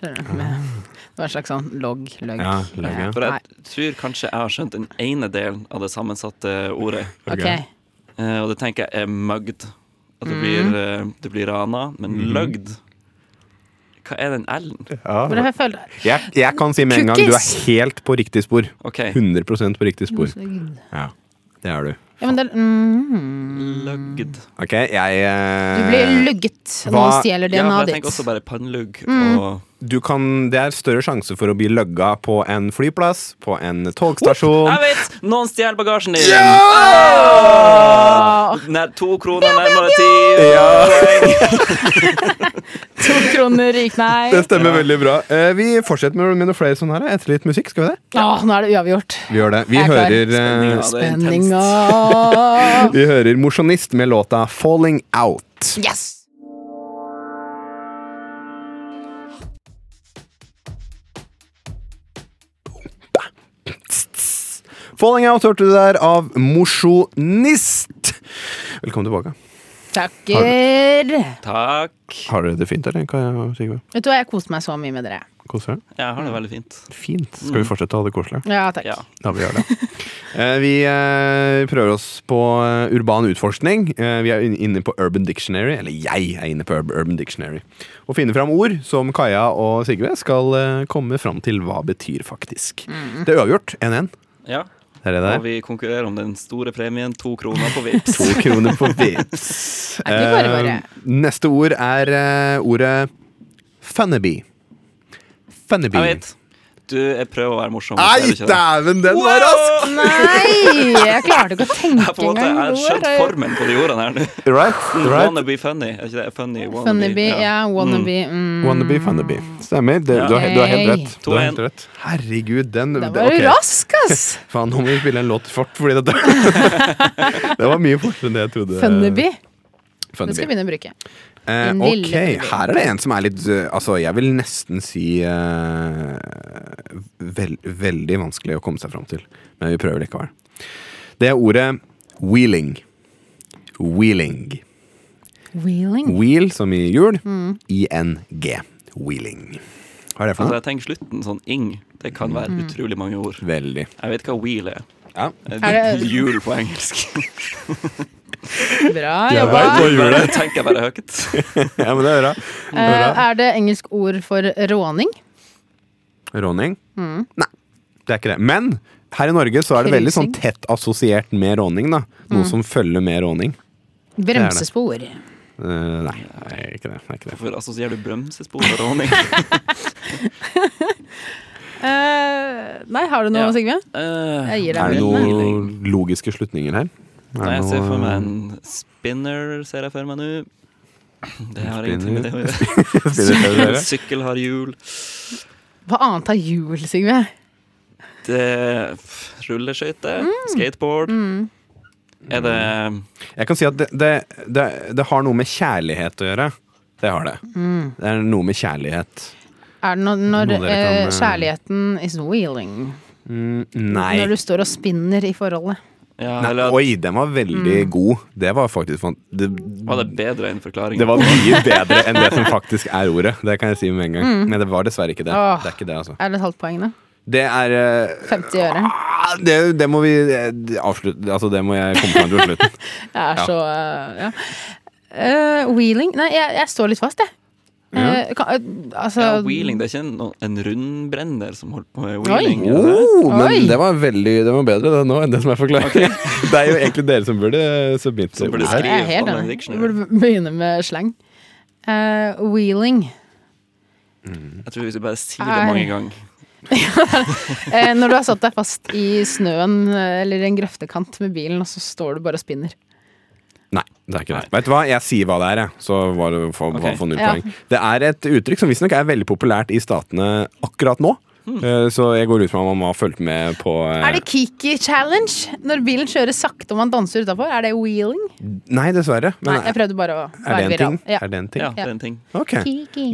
Skjønner du? Ah. Med, <laughs> det var en slags sånn logg, lugg. Ja, logg, ja. For Nei, jeg tror kanskje jeg har skjønt den ene delen av det sammensatte ordet. ok. ok. Eh, og det tenker jeg er mugd. At Mm. det blir, eh, det blir rana, men løgd Hva er den L-en? Men jeg føler Jeg, jeg kan si med en gang du er Cookies! helt på riktig spor. OK. 100 på riktig spor. Ja, det er du. Ja, men det er mm, Løgd. Ok, jeg eh, Du blir lugget når Hva- noen stjeler Ja, for jeg DNA-et ditt. tenker også bare pannlugg og du kan, Det er større sjanse for å bli løgga på en flyplass, på en togstasjon Jeg vet! Noen stjeler bagasjen din! Oh! Ah. Nær to kroner, nærmere ti. Ja, To kroner gikk <laughs> nei. Det stemmer veldig bra. Eh, vi fortsetter med, med noe flere sånne her eh, etter litt musikk. Skal vi det? Å, nå er det uavgjort. Vi gjør det. Vi Jeg er klar. hører, eh, Ja, det er intenst. Spenninga. <laughs> vi hører Mosjonist med låta 'Falling Out'. Yes! Falling Out hørte du der av Mosjonist. Velkommen tilbake. Takker. Takk. Har dere det fint, eller? Hva, Sigve? Vet du hva, jeg koste meg så mye med dere. Koser dere? Jeg har det veldig fint. Fint. Skal Mm. vi fortsette å ha det koselig? Ja, takk. Ja. Ja, vi gjør det. Eh, vi eh, prøver oss på eh, urban utforskning. Eh, vi er in- inne på Urban Dictionary, eller jeg er inne på Ur- Urban Dictionary, og finner fram ord som Kaja og Sigve skal eh, komme fram til hva betyr faktisk. Det er uavgjort. 1-1. Mm. ja. Det er det Og der. vi konkurrerer om den store premien, to kroner på Vipps. To kroner <laughs> på Vipps. Er ikke bare bare. Eh, neste ord er eh, ordet funneby. Funneby. Jeg vet. Du, jeg prøver å være morsom. Nei, ser du ikke det? dæven, den var rask! Nei, jeg <laughs> klarte ikke å Jeg, tenke på en måte, engang. jeg har skjønt Hvor er- formen på de ordene her nå. <laughs> Right, right. Wannabe funny. Er ikke det funny? Wannabe. Funnaby, ja. Wannaby. Mm. Wannabe, funnabe. Stemmer. Det, du, har, he- du har helt rett. Du har helt 2-1. rett. Herregud, den Da det- var du ok. rask, ass! Faen, nå må vi spille en låt fort, fordi dette <laughs> Det var mye fortere enn <laughs> det jeg trodde. Funnaby. Den skal jeg Funnaby. begynne å bruke. Eh, Din lille ok, Funnaby. her er det en som er litt eh, Altså, jeg vil nesten si eh, vel, Veldig vanskelig å komme seg fram til, men vi prøver likevel. Det er ordet wheeling. Wheeling. Wheeling. Wheel som i hjul. I-N-G. Wheeling. Hva er det for Altså, noe? jeg tenker slutten sånn ing. Det kan være utrolig mange ord. Veldig. Jeg vet hva wheel er. Ja. Er det- Hjul på engelsk. Bra Jeg vet jobba. <laughs> hva hjul Bare er. tenker jeg bare høyt. Ja, men det er bra. Eh, Er det engelsk ord for råning? Råning? Nei, det er ikke det. Men her i Norge så er det veldig sånn Cruising. tett assosiert med råning. da Noe som følger med råning. Bremsespor. Eh, nei, det er ikke det. det, er ikke det. Hvorfor assosierer du bremsespor og <laughs> råning? Eh, nei, har du noe, Ja. Sigve? Eh, Jeg gir deg Er det muligheten. jeg. noen logiske slutninger her? Er Nei, jeg det ser noe- for meg en spinner, ser jeg for meg nå. Det har ingenting med det å <laughs> gjøre. Spiller <laughs> dere En dere? sykkel har hjul. Hva annet har hjul, Sigve? Det pff, Rulleskøyter. Mm. Skateboard. Er det Jeg kan si at det, det, det, det har noe med kjærlighet å gjøre. Det har det. Mm. Det er noe med kjærlighet. Er det når, når Noe dere eh, kan, eh, kjærligheten is wheeling? Nei. Når du står og spinner i forholdet. ja, eller nei. at, Oi, den var Mm. veldig god. Det var faktisk fan- det, Var det bedre enn forklaringen? Det var mye bedre enn det som faktisk er ordet. Det kan jeg si med en gang. Men det var dessverre ikke det. Mm. Åh. Det er ikke det, altså. Er det et halvt poeng, da? Det er eh, 50 øre. ah, det, det må vi eh, avslutte Altså, det må jeg komme fram til på slutten. Jeg er Ja. så eh, ja. Eh, wheeling Nei, jeg, jeg står litt fast, jeg. Eh, kan, eh, altså ja, wheeling. Det er ikke en, no- en rundbrenner som holder på med Oi. wheeling? er det det? Oh, Oi. men det var veldig Det var bedre det nå enn det som er forklaringen. <laughs> Det er jo egentlig dere som burde submitte Som burde ordet her. Jeg er Skriv helt Anna enig. Vi Dictionary. burde begynne med slang. Eh, wheeling. Jeg tror hvis du bare sier Er- det mange ganger Eh, når du har satt deg fast i snøen eh, eller en grøftekant med bilen, og så står du bare og spinner. Nei, det er ikke det. Vet du hva? Jeg sier hva det er, jeg. Så var det for, Ok. for null Ja. poeng. Det er et uttrykk som visstnok er veldig populært i statene akkurat nå. Eh, Så jeg går ut fra at mamma har fulgt med på eh, Hmm. Er det Kiki challenge? Når bilen kjører sakte og man danser utafor? Er det wheeling? Nei, dessverre. Nei, Men jeg prøvde bare å er være det en ting? viral. Ja. Er det en ting? Ja, det er en ting. Ok.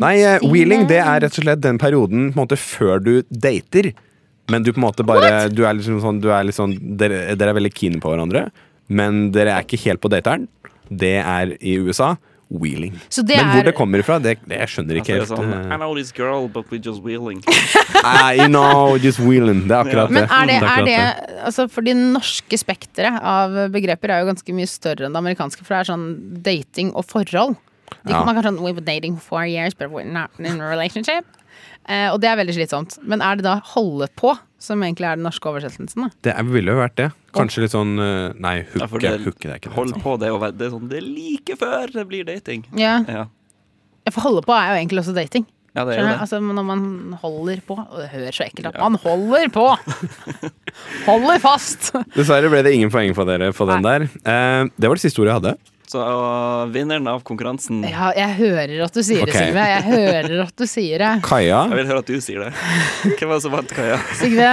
Nei, eh, wheeling det er rett og slett den perioden på en måte, før du dater. Men du på en måte bare du er liksom sånn, du er litt sånn dere, dere er veldig keen på hverandre, men dere er ikke helt på dateren. Det er i USA wheeling. Så det men hvor er- det kommer fra, det, det jeg skjønner Altså, ikke det er helt. sånn, I eh. know this girl, but we just wheeling. I know, just wheeling. Det er akkurat Men er det, det er akkurat det altså For de norske spekteret av begreper er jo ganske mye større enn det amerikanske, for det er sånn dating og forhold. De Ja. kan man kan sånn We've been dating for four years, but we're not in a relationship. Eh, og det er veldig slitsomt. Men er det da holde på som egentlig er den norske oversettelsen? Da? Det er- ville jo vært det. Kanskje litt sånn eh, Nei, Ja, hooke. for Det, det- hooke det er ikke det. Hold sånn. på det, og vær- det er sånn, det er like før det blir dating. Ja. Ja, ja, for holde på er jo egentlig også dating. ja det er jo Skjønner du? det. Altså Når man holder på Og det høres så ekkelt ut. Man holder på! <laughs> holder fast! Dessverre ble det ingen poeng for dere på den der. Eh, det var det siste ordet jeg hadde. Så og vinneren av konkurransen Jeg Ja, jeg hører at du sier Ok. det, Sigve. Jeg hører at du sier <laughs> det. Kaja. vil høre at du sier <laughs> det. Hvem var det som vant, Kaja? Sigve,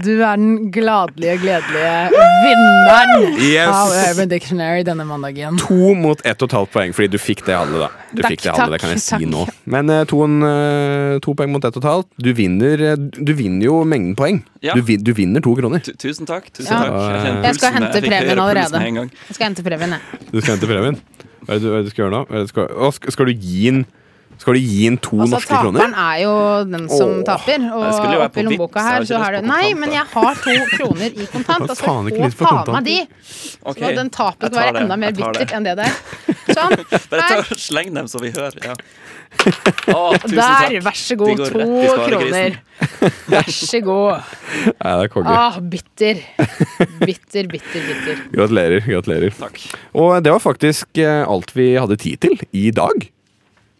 du er den gladelige, gledelige vinneren av Yes! Urban Dictionary denne mandagen. To mot ett og et halvt poeng, fordi du fikk det halve, da. Du Takk, fikk det halve, takk, det kan jeg si takk. nå. Men eh, toen, eh, to poeng mot ett og et halvt. Du vinner, eh, du vinner jo mengden poeng. Ja. Du, vin, du vinner to kroner. Tu- Tusen takk. tusen Ja. takk. Jeg, kjenner Jeg skal pulsen. hente fikk premien høyere puls allerede. med en gang. Jeg skal hente premien, jeg. Du skal hente premien. Hva er det du, hva er det du skal gjøre nå? Hva er det du skal, å, sk- skal du gi den Skal du gi den to Altså, norske taperen kroner? er jo den som Åh, taper. jeg skulle jo Og være oppi på lommeboka Vipps, jeg har ikke her så har lyst du på Nei, kontant, men da. jeg har to kroner i <laughs> Jeg kontant. har Altså, faen ikke få lyst på faen kontant. meg de! Ok, Og den jeg tapen skal tar være det, enda mer jeg tar det. bitter enn det <laughs> der. Sånn. Bare Her. ta, sleng dem så vi hører. Ja. <laughs> Å, tusen Der, takk. vær så De god. går rett To i sparegrisen. kroner. Vær så <laughs> god. Nei, det er konge. Ah, bitter. Bitter, bitter, bitter. Gratulerer. Gratulerer. Takk. Og det var faktisk eh, alt vi hadde tid til i dag.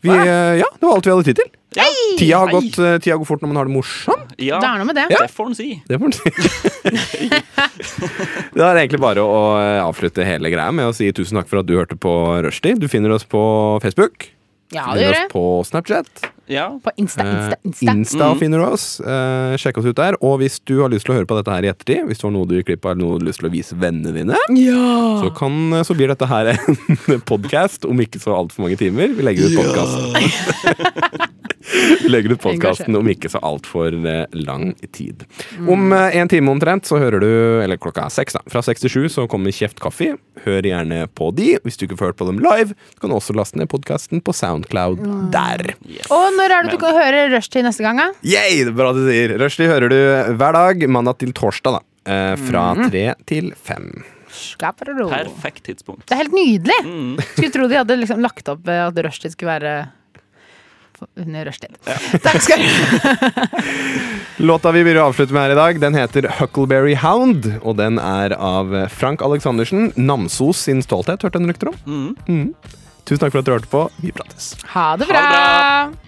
Vi, eh, ja, det var alt vi hadde tid til. Ja, Tida har Hei. gått, eh, tida går fort når man har det morsomt. ja, Det er noe med det. Ja. det får en si. Det får man si. <laughs> det er egentlig bare å eh, avslutte hele greia med å si tusen takk for at du hørte på Rushdie. Du finner oss på Facebook. Ja, Du finner det gjør det. oss på Snapchat. Ja, På Insta, Insta, Insta. Mm. Eh, finner du oss. Eh, sjekk oss ut der. Og hvis du har lyst til å høre på dette her i ettertid, hvis det var noe du gikk glipp av, eller noe du har lyst til å vise vennene dine, så, kan, eh, så blir dette her en <laughs> podkast om ikke så altfor mange timer. Vi legger ut podkasten. <laughs> Vi legger ut podkasten om ikke så altfor lang tid. Mm. Om eh, en time omtrent så hører du Eller klokka er seks, da. Fra seks til sju så kommer Kjeft kaffe. Hør gjerne på de. Hvis du ikke får hørt på dem live, så kan du også laste ned podkasten på Soundcloud der. Og når er det du kan høre Rushtid neste gang, da? Yay, det er bra du sier. Rushdie hører du hver dag, mandag til torsdag, da. Eh, fra tre til fem. Skaparolo. Det perfekt tidspunkt. er helt nydelig! Skulle tro de hadde liksom lagt opp eh, at rushtid skulle være for- under rushtid. Takk skal du ha. Låta vi vil avslutte med her i dag, den heter Huckleberry Hound. Og den er av Frank Aleksandersen. Namsos sin Mhm. stolthet, hørte en rykter om. Mm. Tusen takk for at du hørte på. Vi prates. Ha det Ha det bra! bra.